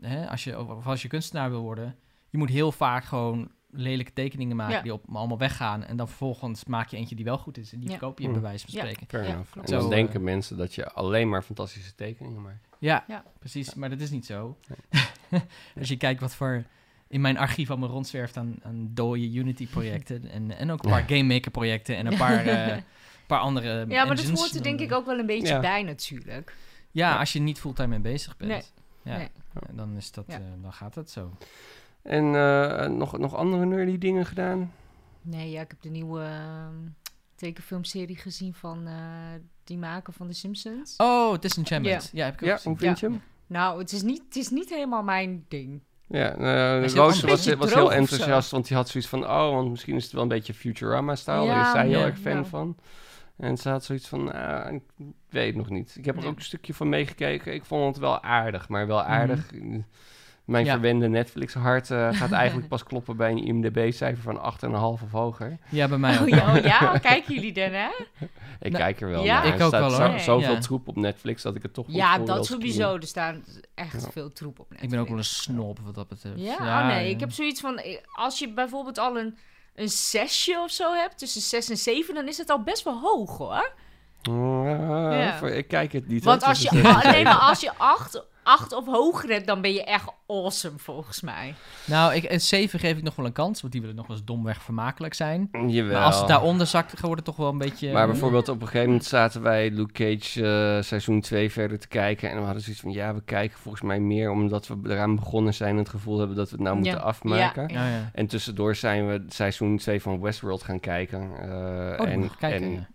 [SPEAKER 2] hè, als, je, of als je kunstenaar wil worden, je moet heel vaak gewoon lelijke tekeningen maken
[SPEAKER 3] Ja.
[SPEAKER 2] die op, allemaal weggaan. En dan vervolgens maak je eentje die wel goed is. En die
[SPEAKER 3] Ja.
[SPEAKER 2] verkoop je
[SPEAKER 1] Mm.
[SPEAKER 2] bij wijze van
[SPEAKER 3] Ja.
[SPEAKER 2] spreken.
[SPEAKER 1] Fair
[SPEAKER 3] Ja,
[SPEAKER 1] enough.
[SPEAKER 3] klopt.
[SPEAKER 1] En dan
[SPEAKER 2] Zo, eh,
[SPEAKER 1] denken mensen dat je alleen maar fantastische tekeningen maakt.
[SPEAKER 2] Ja,
[SPEAKER 3] Ja.
[SPEAKER 2] precies. Maar dat is niet zo. Als je kijkt wat voor in mijn archief allemaal rondzwerft aan, aan dode Unity-projecten. En, en ook een paar Game Maker-projecten en een paar, eh, paar andere
[SPEAKER 3] ja, maar dat
[SPEAKER 2] engines.
[SPEAKER 3] hoort er
[SPEAKER 2] Dan- eh,
[SPEAKER 3] denk ik ook wel een beetje
[SPEAKER 1] Ja.
[SPEAKER 3] bij natuurlijk.
[SPEAKER 2] Ja, als je niet fulltime mee bezig bent.
[SPEAKER 3] Nee.
[SPEAKER 2] Ja.
[SPEAKER 3] Nee.
[SPEAKER 2] Dan, is dat,
[SPEAKER 3] Ja.
[SPEAKER 2] eh, dan gaat dat zo.
[SPEAKER 1] En eh, nog, nog andere nerdy dingen gedaan?
[SPEAKER 3] Nee, ja, ik heb de nieuwe ehm, tekenfilmserie gezien van eh, die maker van The Simpsons.
[SPEAKER 2] Oh, Disenchantment. Ja, heb ik ook
[SPEAKER 1] Ja,
[SPEAKER 2] gezien.
[SPEAKER 1] hoe vind je hem?
[SPEAKER 3] Nou, het is, niet, het is niet helemaal mijn ding.
[SPEAKER 1] Ja, eh
[SPEAKER 2] is heel
[SPEAKER 1] Roos
[SPEAKER 2] een
[SPEAKER 1] was,
[SPEAKER 3] beetje
[SPEAKER 1] was
[SPEAKER 3] droog
[SPEAKER 1] heel
[SPEAKER 3] of zo.
[SPEAKER 1] enthousiast, want die had zoiets van... oh, want misschien is het wel een beetje Futurama-stijl.
[SPEAKER 3] Ja,
[SPEAKER 1] Daar is zij heel
[SPEAKER 2] ja,
[SPEAKER 1] erg fan
[SPEAKER 3] ja.
[SPEAKER 1] van. En ze had zoiets van, ah, ik weet nog niet. Ik heb er
[SPEAKER 3] Nee.
[SPEAKER 1] ook een stukje van meegekeken. Ik vond het wel aardig, maar
[SPEAKER 3] Mhm.
[SPEAKER 1] wel aardig. Mijn
[SPEAKER 2] Ja.
[SPEAKER 1] verwende Netflix-hart eh, gaat eigenlijk pas kloppen bij een IMDb-cijfer van 8,5 of hoger.
[SPEAKER 2] Ja, bij mij ook.
[SPEAKER 3] Oh ja, oh ja, kijken jullie dan, hè?
[SPEAKER 1] Ik
[SPEAKER 2] Nou,
[SPEAKER 1] kijk er wel
[SPEAKER 3] ja.
[SPEAKER 1] naar.
[SPEAKER 2] Ik
[SPEAKER 1] Er
[SPEAKER 2] ook
[SPEAKER 1] staat
[SPEAKER 2] wel,
[SPEAKER 1] zo-
[SPEAKER 3] hoor.
[SPEAKER 1] zoveel
[SPEAKER 2] Ja.
[SPEAKER 1] troep op Netflix dat ik het toch goed
[SPEAKER 3] Ja,
[SPEAKER 1] voor
[SPEAKER 3] dat
[SPEAKER 1] wil streamen.
[SPEAKER 3] sowieso. Er staan echt
[SPEAKER 1] Ja.
[SPEAKER 3] veel troep op
[SPEAKER 2] Ik ben ook wel een snob wat dat betreft.
[SPEAKER 3] Ja, oh nee, ik heb zoiets van... eh, Als je bijvoorbeeld al een, een zesje of zo hebt, tussen zes en zeven... dan is het al best wel hoog, hoor.
[SPEAKER 1] Ah,
[SPEAKER 3] Ja.
[SPEAKER 1] voor- ik kijk het niet.
[SPEAKER 3] Want
[SPEAKER 1] hè,
[SPEAKER 3] als
[SPEAKER 1] dus
[SPEAKER 3] je,
[SPEAKER 1] het is-
[SPEAKER 3] ah, nee, maar als je acht, acht of hoger hebt, dan ben je echt awesome, volgens mij.
[SPEAKER 2] Nou, ik, een 7 geef ik nog wel een kans, want die willen nog wel eens domweg vermakelijk zijn.
[SPEAKER 1] Jawel.
[SPEAKER 2] Maar
[SPEAKER 3] Nou,
[SPEAKER 2] als het daaronder zakt, wordt het toch wel een beetje...
[SPEAKER 1] Maar bijvoorbeeld op een gegeven moment zaten wij Luke Cage eh, seizoen 2 verder te kijken. En we hadden zoiets van, ja, we kijken volgens mij meer omdat we eraan begonnen zijn en het gevoel hebben dat we het nou moeten
[SPEAKER 3] Ja.
[SPEAKER 1] afmaken.
[SPEAKER 3] Ja.
[SPEAKER 2] Oh, Ja, ja.
[SPEAKER 1] En tussendoor zijn we seizoen 2 van Westworld gaan kijken. eh,
[SPEAKER 2] Oh, en,
[SPEAKER 1] en,
[SPEAKER 2] nog kijken.
[SPEAKER 1] en-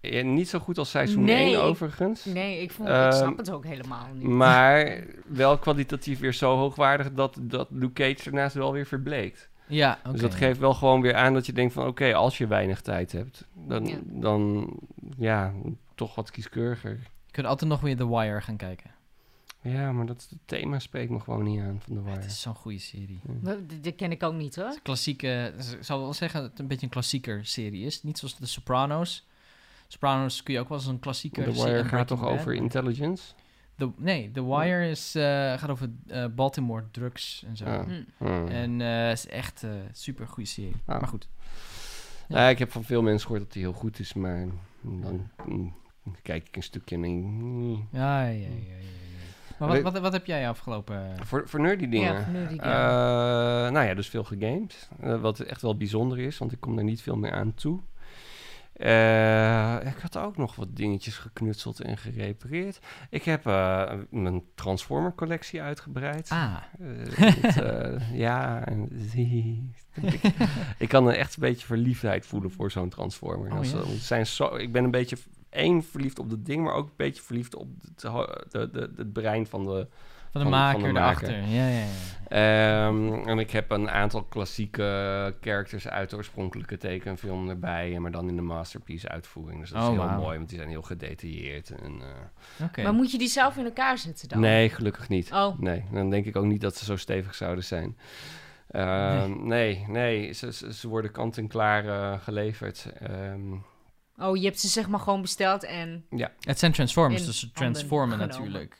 [SPEAKER 1] en niet zo goed als seizoen
[SPEAKER 3] Nee,
[SPEAKER 1] 1
[SPEAKER 3] ik-
[SPEAKER 1] overigens.
[SPEAKER 3] Nee, ik, vond,
[SPEAKER 1] Ehm, mm.
[SPEAKER 3] ik snap het ook helemaal niet.
[SPEAKER 1] Maar wel kwalitatief weer zo hoogwaardig dat, dat Luke Cage daarnaast wel weer verbleekt.
[SPEAKER 2] ja, oké.
[SPEAKER 1] Dus dat geeft wel gewoon weer aan dat je denkt van... oké, als je weinig tijd hebt, dan
[SPEAKER 3] Ja.
[SPEAKER 1] dan ja, toch wat kieskeuriger.
[SPEAKER 2] Je kunt altijd nog weer The Wire gaan kijken.
[SPEAKER 1] Ja, maar dat het thema spreekt me gewoon niet aan van de
[SPEAKER 2] Het
[SPEAKER 1] Wire.
[SPEAKER 2] is zo'n goede serie.
[SPEAKER 3] Maar d- Dat ken ik ook niet, hoor.
[SPEAKER 2] Het is een klassieke... Ik zou wel zeggen dat het een beetje een klassieker serie is. Niet zoals The Sopranos. Sopranos kun je ook wel als een klassieker
[SPEAKER 1] De
[SPEAKER 2] zien.
[SPEAKER 1] Wire
[SPEAKER 2] En
[SPEAKER 1] gaat
[SPEAKER 2] Breaking
[SPEAKER 1] toch
[SPEAKER 2] Bad.
[SPEAKER 1] over intelligence?
[SPEAKER 2] The, nee, The Wire is, eh, gaat over eh, Baltimore drugs en zo.
[SPEAKER 1] Ja.
[SPEAKER 3] Hm.
[SPEAKER 1] Hmm.
[SPEAKER 2] En eh, is echt een super goede serie.
[SPEAKER 1] Ah.
[SPEAKER 2] Maar goed.
[SPEAKER 1] Nou, ik heb van veel mensen gehoord dat die heel goed is, maar dan mm, kijk ik een stukje en denk... mm.
[SPEAKER 2] Ja, ja, ja, ja, ja. Maar wat,
[SPEAKER 1] Weet-
[SPEAKER 2] wat, wat heb jij afgelopen... eh,
[SPEAKER 1] Voor, voor nerdy dingen.
[SPEAKER 3] Ja, nu die
[SPEAKER 1] Eh, nou ja, dus veel gegamed. Eh, wat echt wel bijzonder is, want ik kom er niet veel meer aan toe. Eh, ik had ook nog wat dingetjes geknutseld en gerepareerd. Ik heb eh, mijn Transformer collectie uitgebreid.
[SPEAKER 2] Ah,
[SPEAKER 1] Eh, het, eh, ja, en- ik, ik kan er echt een beetje verliefdheid voelen voor zo'n Transformer.
[SPEAKER 2] Oh,
[SPEAKER 1] Als-
[SPEAKER 2] ja?
[SPEAKER 1] het zijn zo, ik ben een beetje, één, verliefd op dat ding, maar ook een beetje verliefd op het, ho- de, de, het brein van de,
[SPEAKER 2] van de
[SPEAKER 1] de
[SPEAKER 2] maker
[SPEAKER 1] maker.
[SPEAKER 2] erachter. Ja, ja, ja.
[SPEAKER 1] Ehm, en ik heb een aantal klassieke characters uit de oorspronkelijke tekenfilm erbij, maar dan in de masterpiece uitvoering. Dus dat is
[SPEAKER 2] Oh,
[SPEAKER 1] heel
[SPEAKER 2] wauw.
[SPEAKER 1] mooi, want die zijn heel gedetailleerd. En, eh,
[SPEAKER 2] Oké.
[SPEAKER 3] Maar moet je die zelf in elkaar zetten dan?
[SPEAKER 1] nee, gelukkig niet.
[SPEAKER 3] Oh,
[SPEAKER 1] Nee, dan denk ik ook niet dat ze zo stevig zouden zijn. Ehm, nee, nee, ze, ze- ze worden kant-en-klaar eh, geleverd. Ehm,
[SPEAKER 3] oh, je hebt ze zeg maar gewoon besteld en...
[SPEAKER 2] Het zijn transformers,
[SPEAKER 3] In
[SPEAKER 2] dus ze
[SPEAKER 3] handen
[SPEAKER 2] transformen
[SPEAKER 3] genomen.
[SPEAKER 2] natuurlijk.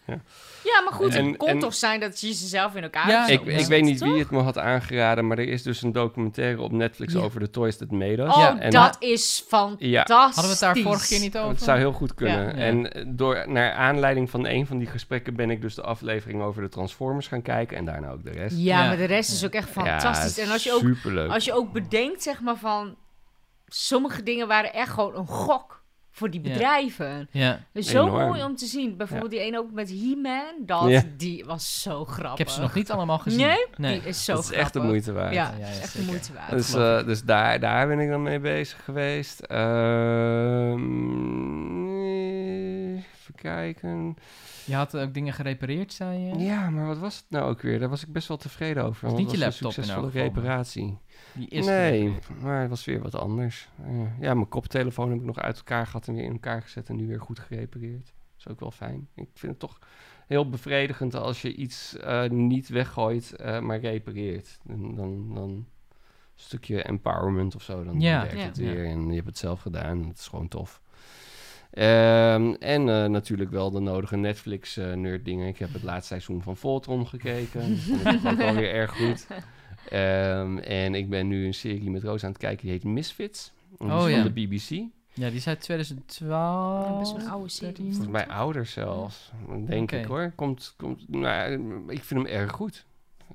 [SPEAKER 3] Ja, maar goed,
[SPEAKER 1] En-
[SPEAKER 3] het kon
[SPEAKER 1] en-
[SPEAKER 3] toch zijn dat je ze zelf in elkaar
[SPEAKER 2] Ja,
[SPEAKER 3] hebt
[SPEAKER 1] ik,
[SPEAKER 3] gestopt,
[SPEAKER 1] ik
[SPEAKER 3] toch?
[SPEAKER 1] weet niet wie het me had aangeraden, maar er is dus een documentaire op Netflix
[SPEAKER 3] Ja.
[SPEAKER 1] over de Toys That Made Us.
[SPEAKER 3] Oh,
[SPEAKER 2] Ja,
[SPEAKER 1] en-
[SPEAKER 3] dat is fantastisch.
[SPEAKER 1] Ja,
[SPEAKER 2] Hadden we het daar vorige keer niet over?
[SPEAKER 1] Het zou heel goed kunnen.
[SPEAKER 2] Ja.
[SPEAKER 1] En eh, door, naar aanleiding van een van die gesprekken ben ik dus de aflevering over de Transformers gaan kijken en daarna ook de rest.
[SPEAKER 3] Ja,
[SPEAKER 2] Ja.
[SPEAKER 3] maar de rest is ook echt fantastisch.
[SPEAKER 1] Ja,
[SPEAKER 3] en als je, ook,
[SPEAKER 1] Superleuk.
[SPEAKER 3] als je ook bedenkt, zeg maar, van... Sommige dingen waren echt gewoon een gok voor die
[SPEAKER 2] Ja.
[SPEAKER 3] bedrijven.
[SPEAKER 2] Ja.
[SPEAKER 3] Dus Zo
[SPEAKER 1] Enorm.
[SPEAKER 3] mooi om te zien. Bijvoorbeeld die ene ook met He-Man. Dat,
[SPEAKER 1] Ja.
[SPEAKER 3] die was zo grappig.
[SPEAKER 2] Ik heb ze nog niet allemaal gezien.
[SPEAKER 3] Nee?
[SPEAKER 2] Nee.
[SPEAKER 3] Die is zo
[SPEAKER 1] dat is echt de
[SPEAKER 3] grappig.
[SPEAKER 1] moeite waard.
[SPEAKER 3] Ja,
[SPEAKER 2] Ja, ja,
[SPEAKER 3] echt de
[SPEAKER 2] zeker.
[SPEAKER 3] moeite waard.
[SPEAKER 1] Dus,
[SPEAKER 2] geloof
[SPEAKER 1] eh, dus daar, daar ben ik dan mee bezig geweest. Ehm, even kijken.
[SPEAKER 2] Je had ook dingen gerepareerd, zei je?
[SPEAKER 1] Ja, maar wat was het nou ook weer? Daar was ik best wel tevreden over.
[SPEAKER 2] Was
[SPEAKER 1] want
[SPEAKER 2] niet je
[SPEAKER 1] het was een
[SPEAKER 2] laptop in elk
[SPEAKER 1] succesvolle
[SPEAKER 2] geval.
[SPEAKER 1] reparatie.
[SPEAKER 2] Die is
[SPEAKER 1] nee,
[SPEAKER 2] gerepareerd.
[SPEAKER 1] maar het was weer wat anders. Ja. Ja, mijn koptelefoon heb ik nog uit elkaar gehad en weer in elkaar gezet en nu weer goed gerepareerd. is ook wel fijn. Ik vind het toch heel bevredigend als je iets eh, niet weggooit, eh, maar repareert. Dan, dan, dan een stukje empowerment of zo. Dan
[SPEAKER 2] Ja.
[SPEAKER 1] werkt
[SPEAKER 3] Ja.
[SPEAKER 1] het
[SPEAKER 2] Ja.
[SPEAKER 1] weer en je hebt het zelf gedaan. Dat is gewoon tof. Ehm, en eh, natuurlijk wel de nodige Netflix-nerd dingen. Ik heb het laatste seizoen van Voltron gekeken. Dat vond ik ook alweer erg goed. Ehm, en ik ben nu een serie met Roos aan het kijken. Die heet Misfits. En die
[SPEAKER 2] Oh,
[SPEAKER 1] is
[SPEAKER 2] ja.
[SPEAKER 1] van de BBC.
[SPEAKER 2] Ja, die is uit 2012.
[SPEAKER 3] Ja, best wel een oude serie.
[SPEAKER 2] 13?
[SPEAKER 1] eh, Volgens mij ouder zelfs, denk
[SPEAKER 2] Oké.
[SPEAKER 1] ik hoor. Komt, komt, nou, ik vind hem erg goed.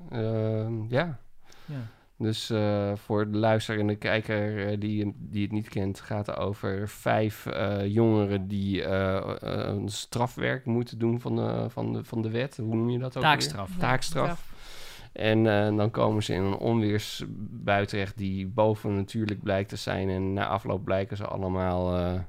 [SPEAKER 1] Ehm, ja,
[SPEAKER 2] Ja.
[SPEAKER 1] dus eh, voor de luisteraar en de kijker eh, die, die het niet kent, gaat het over vijf eh, jongeren die eh, eh, een strafwerk moeten doen van de, van, de, van de wet. Hoe noem je dat ook? weer?
[SPEAKER 2] Taakstraf.
[SPEAKER 1] Taakstraf. En eh, dan komen ze in een onweersbui terecht die bovennatuurlijk blijkt te zijn. En na afloop blijken ze allemaal eh,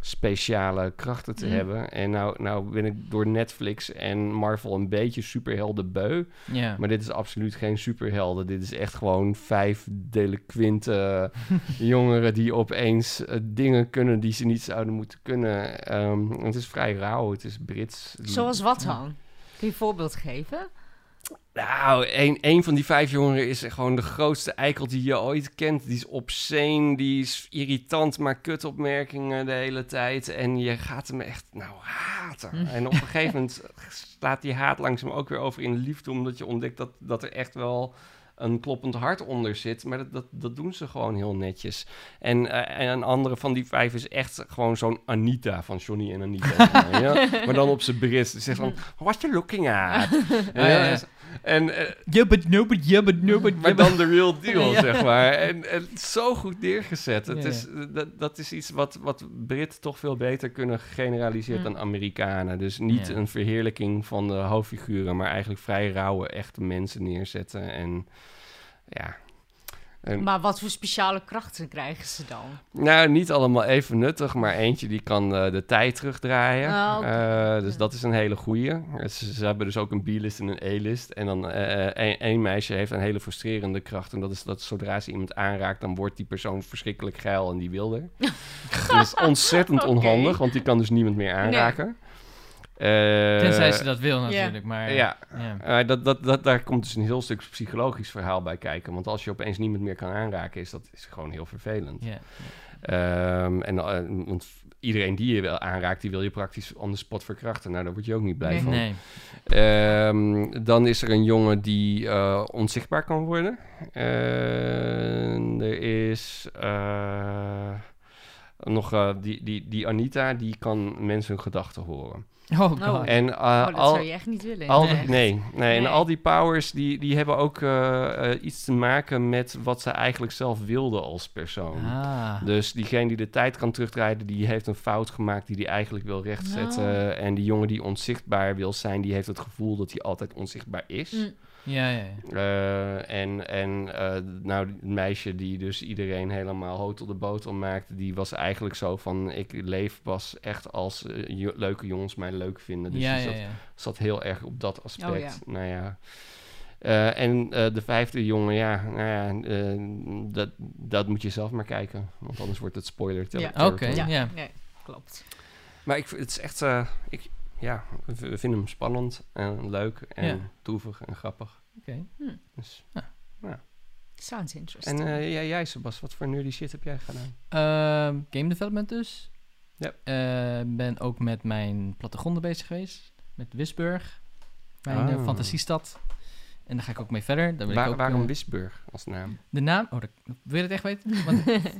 [SPEAKER 1] speciale krachten te
[SPEAKER 2] Mm.
[SPEAKER 1] hebben. En nou, nou ben ik door Netflix en Marvel een beetje superhelden beu.
[SPEAKER 2] Ja.
[SPEAKER 1] Maar dit is absoluut geen superhelden. Dit is echt gewoon vijf delinquente jongeren die opeens eh, dingen kunnen die ze niet zouden moeten kunnen. Ehm, het is vrij rauw, het is Brits.
[SPEAKER 3] Zoals wat dan? Kun je een voorbeeld geven?
[SPEAKER 1] Nou, een, een van die vijf jongeren is gewoon de grootste eikel die je ooit kent. Die is obscene, die is irritant, maar kutopmerkingen de hele tijd. En je gaat hem echt, nou, haten. En op een gegeven moment slaat die haat langzaam ook weer over in liefde... omdat je ontdekt dat, dat er echt wel een kloppend hart onder zit. Maar dat, dat, dat doen ze gewoon heel netjes. En, eh, en een andere van die vijf is echt gewoon zo'n Anita van Johnny en Anita. ja? Maar dan op zijn Brits. Die zegt van, what you looking at?
[SPEAKER 2] Oh, ja, ja.
[SPEAKER 1] En, eh,
[SPEAKER 2] Ja, but no, but ja, but no, but ja,
[SPEAKER 1] maar
[SPEAKER 2] but-
[SPEAKER 1] dan de real deal,
[SPEAKER 2] Ja.
[SPEAKER 1] zeg maar. En, en het is zo goed neergezet. Het
[SPEAKER 2] Ja, ja.
[SPEAKER 1] Is, dat, dat is iets wat, wat Britten toch veel beter kunnen generaliseren
[SPEAKER 3] Mm.
[SPEAKER 1] dan Amerikanen. Dus niet
[SPEAKER 2] Ja.
[SPEAKER 1] een verheerlijking van de hoofdfiguren, maar eigenlijk vrij rauwe, echte mensen neerzetten. En ja. En,
[SPEAKER 3] Maar wat voor speciale krachten krijgen ze dan?
[SPEAKER 1] nou, niet allemaal even nuttig, maar eentje die kan eh, de tijd terugdraaien.
[SPEAKER 3] Ah, oké.
[SPEAKER 1] Eh, dus
[SPEAKER 3] Ja.
[SPEAKER 1] dat is een hele goeie. Ze, ze hebben dus ook een B-list en een E-list. En dan één één meisje heeft een hele frustrerende kracht. En dat is dat zodra ze iemand aanraakt, dan wordt die persoon verschrikkelijk geil en die wil er. dat is ontzettend
[SPEAKER 3] Oké.
[SPEAKER 1] onhandig, want die kan dus niemand meer aanraken. Eh,
[SPEAKER 2] Tenzij ze dat wil natuurlijk, maar...
[SPEAKER 1] Ja,
[SPEAKER 2] ja.
[SPEAKER 1] eh, dat, dat, dat, daar komt dus een heel stuk psychologisch verhaal bij kijken. Want als je opeens niemand meer kan aanraken, is dat is gewoon heel vervelend.
[SPEAKER 2] Ja.
[SPEAKER 1] Ehm, en, eh, want iedereen die je wel aanraakt, die wil je praktisch on the spot verkrachten. Nou, daar word je ook niet blij
[SPEAKER 3] Nee.
[SPEAKER 1] van.
[SPEAKER 2] Nee.
[SPEAKER 1] Ehm, dan is er een jongen die eh, onzichtbaar kan worden. En er is eh, nog eh, die, die, die Anita, die kan mensen hun gedachten horen.
[SPEAKER 2] Oh god.
[SPEAKER 1] En eh,
[SPEAKER 3] oh, dat
[SPEAKER 1] al,
[SPEAKER 3] zou je echt niet willen.
[SPEAKER 1] al,
[SPEAKER 2] Nee.
[SPEAKER 1] nee. Nee, en
[SPEAKER 3] Nee.
[SPEAKER 1] al die powers die, die hebben ook eh, eh, iets te maken met wat ze eigenlijk zelf wilden als persoon.
[SPEAKER 2] Ah.
[SPEAKER 1] Dus diegene die de tijd kan terugdraaien, die heeft een fout gemaakt die hij eigenlijk wil rechtzetten.
[SPEAKER 3] Nou.
[SPEAKER 1] En die jongen die onzichtbaar wil zijn, die heeft het gevoel dat hij altijd onzichtbaar is.
[SPEAKER 3] Mm.
[SPEAKER 2] Ja, ja, ja.
[SPEAKER 1] Eh, en en eh, nou, het meisje die dus iedereen helemaal hotel de botel maakt, die was eigenlijk zo van, ik leef pas echt als eh, jo- leuke jongens mij leuk vinden. Dus
[SPEAKER 2] Ja,
[SPEAKER 1] die
[SPEAKER 2] ja,
[SPEAKER 1] zat
[SPEAKER 2] ja.
[SPEAKER 1] zat heel erg op dat aspect.
[SPEAKER 3] Oh, ja.
[SPEAKER 1] Nou ja. Eh, en eh, de vijfde jongen, ja, nou ja eh, dat, dat moet je zelf maar kijken. Want anders wordt het spoiler. ter-
[SPEAKER 3] Ja.
[SPEAKER 1] territory.
[SPEAKER 2] Oké,
[SPEAKER 3] Ja,
[SPEAKER 2] ja.
[SPEAKER 3] nee, klopt.
[SPEAKER 1] Maar ik, vind- het is echt, eh, ik, ja, we we vinden hem spannend en leuk en
[SPEAKER 2] Ja.
[SPEAKER 1] droevig en grappig.
[SPEAKER 2] Oké.
[SPEAKER 1] Dus.
[SPEAKER 3] Sounds
[SPEAKER 1] En
[SPEAKER 3] interesting. Oh,
[SPEAKER 1] eh, jij, jij, Sebas, wat voor nerdy shit heb jij gedaan?
[SPEAKER 2] Ehm, game development dus.
[SPEAKER 1] Ja.
[SPEAKER 2] Eh, ben ook met mijn plattegronden bezig geweest. Met Wisburg. Mijn eh,
[SPEAKER 1] Ah.
[SPEAKER 2] fantasiestad. En daar ga ik ook eh, mee verder. Daar ben ik
[SPEAKER 1] Waar-
[SPEAKER 2] ook,
[SPEAKER 1] waarom
[SPEAKER 2] eh,
[SPEAKER 1] Wisburg als naam?
[SPEAKER 2] De naam... Oh, dat, wil je het echt weten? Want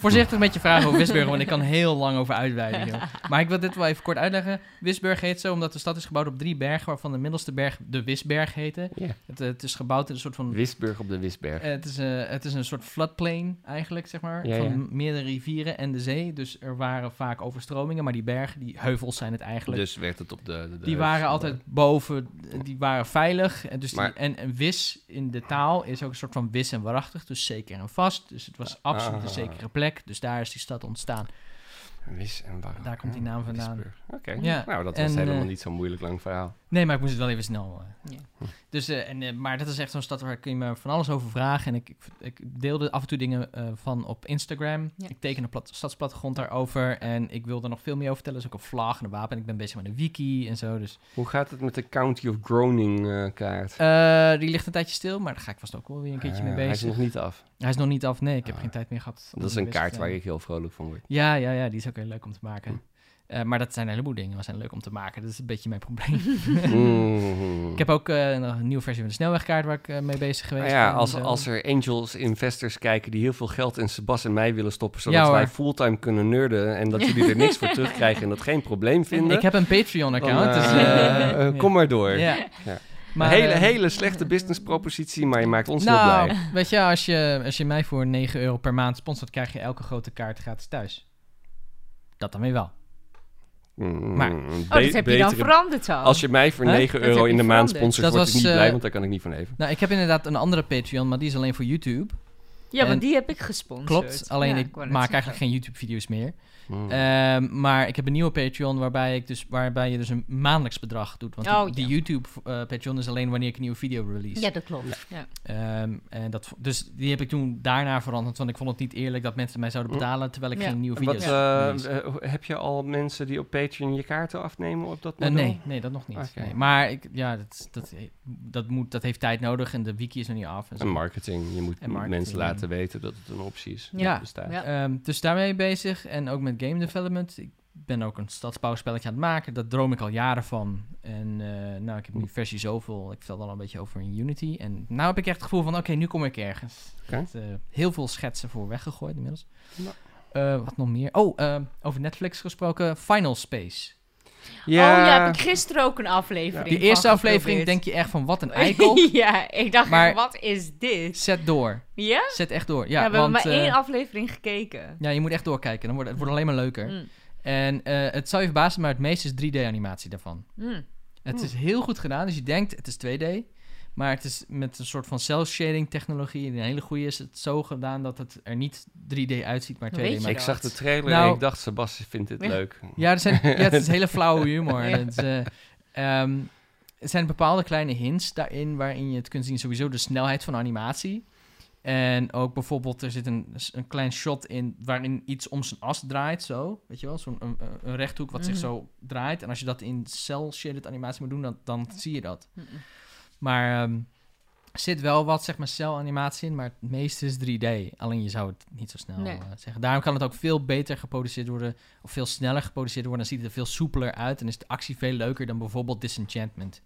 [SPEAKER 2] Voorzichtig met je vragen over Wisburg, want ik kan heel lang over uitweiden. joh. Maar ik wil dit wel even kort uitleggen. Wisburg heet zo omdat de stad is gebouwd op drie bergen, waarvan de middelste berg de Wisberg heette.
[SPEAKER 1] Ja.
[SPEAKER 2] Het, eh, het is gebouwd in een soort van...
[SPEAKER 1] Wisburg op de Wisberg.
[SPEAKER 2] eh, het, is, eh, het is een soort floodplain eigenlijk, zeg maar,
[SPEAKER 1] Ja,
[SPEAKER 2] van
[SPEAKER 1] ja.
[SPEAKER 2] meerdere rivieren en de zee. Dus er waren vaak overstromingen, maar die bergen, die heuvels zijn het eigenlijk.
[SPEAKER 1] dus werd het op de... de- de-
[SPEAKER 2] Die waren altijd boven, die waren veilig. En, dus
[SPEAKER 1] Maar-
[SPEAKER 2] die, en, en wis in de taal is ook een soort van wis en waarachtig, dus zeker en vast. Dus het was absoluut een
[SPEAKER 1] Ah.
[SPEAKER 2] zekere plek, dus daar is die stad ontstaan.
[SPEAKER 1] Wis en waarom.
[SPEAKER 2] Daar komt die naam vandaan.
[SPEAKER 1] Wisburg. Oké,
[SPEAKER 2] Ja,
[SPEAKER 1] nou dat was
[SPEAKER 2] en,
[SPEAKER 1] helemaal
[SPEAKER 2] eh,
[SPEAKER 1] niet zo'n moeilijk lang verhaal.
[SPEAKER 2] Nee, maar ik moest het wel even snel. eh.
[SPEAKER 3] Ja.
[SPEAKER 2] Dus, eh, en, eh, maar dat is echt zo'n stad waar kun je me van alles over vragen. En ik, ik, ik deelde af en toe dingen eh, van op Instagram.
[SPEAKER 3] Ja.
[SPEAKER 2] Ik teken een plat, stadsplattegrond daarover. En ik wil er nog veel meer over vertellen. Dus ook een vlag en een wapen. En ik ben bezig met een wiki en zo. Dus
[SPEAKER 1] Hoe gaat het met de County of Groning eh, kaart?
[SPEAKER 2] eh, die ligt een tijdje stil. Maar daar ga ik vast ook wel weer een keertje mee
[SPEAKER 1] Ah, Hij is
[SPEAKER 2] bezig.
[SPEAKER 1] nog niet af.
[SPEAKER 2] Hij is nog niet af. Nee, ik heb
[SPEAKER 1] Ah.
[SPEAKER 2] geen tijd meer gehad. om
[SPEAKER 1] Dat is
[SPEAKER 2] ermee
[SPEAKER 1] een
[SPEAKER 2] bezig te
[SPEAKER 1] kaart waar
[SPEAKER 2] zijn.
[SPEAKER 1] ik heel vrolijk van word.
[SPEAKER 2] Ja, ja, ja. Die is ook heel leuk om te maken.
[SPEAKER 1] Hm. Hm.
[SPEAKER 2] Eh, maar dat zijn een heleboel dingen. Dat zijn leuk om te maken. Dat is een beetje mijn probleem.
[SPEAKER 1] Mm.
[SPEAKER 2] Ik heb ook eh, nog een nieuwe versie van de snelwegkaart waar ik eh, mee bezig geweest eh,
[SPEAKER 1] Nou ja,
[SPEAKER 2] ben en
[SPEAKER 1] als,
[SPEAKER 2] zo.
[SPEAKER 1] als er angels, investors kijken die heel veel geld in Sebas en mij willen stoppen, zodat
[SPEAKER 2] Ja, hoor.
[SPEAKER 1] wij fulltime kunnen nerden en dat jullie er niks voor terugkrijgen en dat geen probleem vinden.
[SPEAKER 2] Ik heb een Patreon-account.
[SPEAKER 1] dan,
[SPEAKER 2] dus,
[SPEAKER 1] eh,
[SPEAKER 2] eh,
[SPEAKER 1] eh, kom maar door.
[SPEAKER 2] Ja.
[SPEAKER 1] Ja.
[SPEAKER 2] Maar,
[SPEAKER 1] hele,
[SPEAKER 2] eh,
[SPEAKER 1] hele slechte businesspropositie, maar je maakt ons heel
[SPEAKER 2] nou,
[SPEAKER 1] blij.
[SPEAKER 2] weet je, als je, als je mij voor 9 euro per maand sponsort, krijg je elke grote kaart gratis thuis. Dat dan weer wel.
[SPEAKER 1] Mm,
[SPEAKER 2] maar-
[SPEAKER 3] Oh, dat heb je dan
[SPEAKER 1] betere-
[SPEAKER 3] veranderd zo.
[SPEAKER 1] Als je mij voor
[SPEAKER 2] Hè?
[SPEAKER 1] 9
[SPEAKER 3] Dat
[SPEAKER 1] euro
[SPEAKER 3] heb
[SPEAKER 1] in de
[SPEAKER 3] je
[SPEAKER 1] maand
[SPEAKER 3] veranderd.
[SPEAKER 1] sponsort,
[SPEAKER 2] Dat
[SPEAKER 1] word ik
[SPEAKER 2] was,
[SPEAKER 1] niet
[SPEAKER 2] eh,
[SPEAKER 1] blij, want daar kan ik niet van leven.
[SPEAKER 2] Nou, ik heb inderdaad een andere Patreon, maar die is alleen voor YouTube.
[SPEAKER 3] Ja, want
[SPEAKER 2] en-
[SPEAKER 3] die heb ik gesponsord.
[SPEAKER 2] Klopt, alleen
[SPEAKER 3] Ja,
[SPEAKER 2] ik maak
[SPEAKER 3] wou net
[SPEAKER 2] eigenlijk
[SPEAKER 3] zeggen.
[SPEAKER 2] geen YouTube-video's meer.
[SPEAKER 1] Mm.
[SPEAKER 2] Ehm, maar ik heb een nieuwe Patreon waarbij, ik dus, waarbij je dus een maandelijks bedrag doet. Want
[SPEAKER 3] Oh,
[SPEAKER 2] die, die YouTube-Patreon is alleen wanneer ik een nieuwe video release.
[SPEAKER 3] Ja, dat klopt. Ja.
[SPEAKER 2] Ehm, en dat, vo- dus die heb ik toen daarna veranderd, want ik vond het niet eerlijk dat mensen mij zouden
[SPEAKER 1] Hm.
[SPEAKER 2] betalen terwijl ik
[SPEAKER 3] Ja.
[SPEAKER 2] geen nieuwe
[SPEAKER 1] Wat,
[SPEAKER 2] video's
[SPEAKER 1] eh,
[SPEAKER 2] release.
[SPEAKER 1] eh, heb je al mensen die op Patreon je kaarten afnemen op dat
[SPEAKER 2] Eh,
[SPEAKER 1] moment?
[SPEAKER 2] nee, nee, dat nog niet.
[SPEAKER 1] Oké.
[SPEAKER 2] Nee. Maar ik, ja, dat, dat, dat, moet, dat heeft tijd nodig en de wiki is nog niet af. En zo.
[SPEAKER 1] En marketing. Je moet
[SPEAKER 2] En marketing,
[SPEAKER 1] mensen
[SPEAKER 2] ja.
[SPEAKER 1] laten weten dat het een optie is.
[SPEAKER 2] Ja.
[SPEAKER 1] Dat bestaat.
[SPEAKER 3] Ja.
[SPEAKER 2] Ehm, dus daarmee bezig en ook met game development. Ik ben ook een stadsbouwspelletje aan het maken. Daar droom ik al jaren van. En eh, nou, ik heb nu versie zoveel. Ik vertelde al een beetje over in Unity. En nou heb ik echt het gevoel van, oké, nu kom ik ergens.
[SPEAKER 1] Oké.
[SPEAKER 2] Ik heb, eh, heel veel schetsen voor weggegooid inmiddels.
[SPEAKER 1] Ja.
[SPEAKER 2] Eh, wat nog meer? Oh, ehm, over Netflix gesproken, Final Space.
[SPEAKER 3] Oh ja, heb ik gisteren ook een aflevering
[SPEAKER 2] Die eerste
[SPEAKER 3] van
[SPEAKER 2] aflevering denk
[SPEAKER 3] geprobeerd.
[SPEAKER 2] je echt van, wat een eikel.
[SPEAKER 3] ja, ik dacht,
[SPEAKER 2] Maar-
[SPEAKER 3] wat is dit?
[SPEAKER 2] Zet door.
[SPEAKER 3] Ja?
[SPEAKER 2] Zet echt door.
[SPEAKER 3] Ja,
[SPEAKER 2] Ja,
[SPEAKER 3] we
[SPEAKER 2] want,
[SPEAKER 3] hebben maar
[SPEAKER 2] eh,
[SPEAKER 3] één aflevering gekeken.
[SPEAKER 2] ja, je moet echt doorkijken. Dan wordt, het wordt alleen maar leuker.
[SPEAKER 3] Mm.
[SPEAKER 2] En eh, het zal je verbazen, maar het meeste is 3D-animatie daarvan.
[SPEAKER 3] Mm.
[SPEAKER 2] Het
[SPEAKER 1] Hmm.
[SPEAKER 2] is heel goed gedaan, dus je denkt het is 2D. Maar het is met een soort van cel-shading technologie. En een hele goede is het zo gedaan dat het er niet 3D uitziet, maar 2D.
[SPEAKER 3] Hoe weet je
[SPEAKER 2] maar-
[SPEAKER 1] Ik zag de trailer en
[SPEAKER 2] Nou-
[SPEAKER 1] ik dacht, Sebas vindt dit
[SPEAKER 3] Ja.
[SPEAKER 1] leuk.
[SPEAKER 2] Ja, er zijn, ja, het is hele flauwe humor.
[SPEAKER 3] Ja.
[SPEAKER 2] Het, is, eh, ehm, er zijn bepaalde kleine hints daarin waarin je het kunt zien. Sowieso de snelheid van animatie. En ook bijvoorbeeld, er zit een, een klein shot in waarin iets om zijn as draait, zo. Weet je wel, zo'n een, een rechthoek wat zich
[SPEAKER 3] Mhm.
[SPEAKER 2] zo draait. En als je dat in cel-shaded animatie moet doen, dan, dan zie je dat.
[SPEAKER 3] Mm.
[SPEAKER 2] Maar ehm, er zit wel wat, zeg maar, cel-animatie in, maar het meeste is 3D. Alleen je zou het niet zo snel
[SPEAKER 3] Nee.
[SPEAKER 2] eh, zeggen. Daarom kan het ook veel beter geproduceerd worden, of veel sneller geproduceerd worden. Dan ziet het er veel soepeler uit en is de actie veel leuker dan bijvoorbeeld Disenchantment.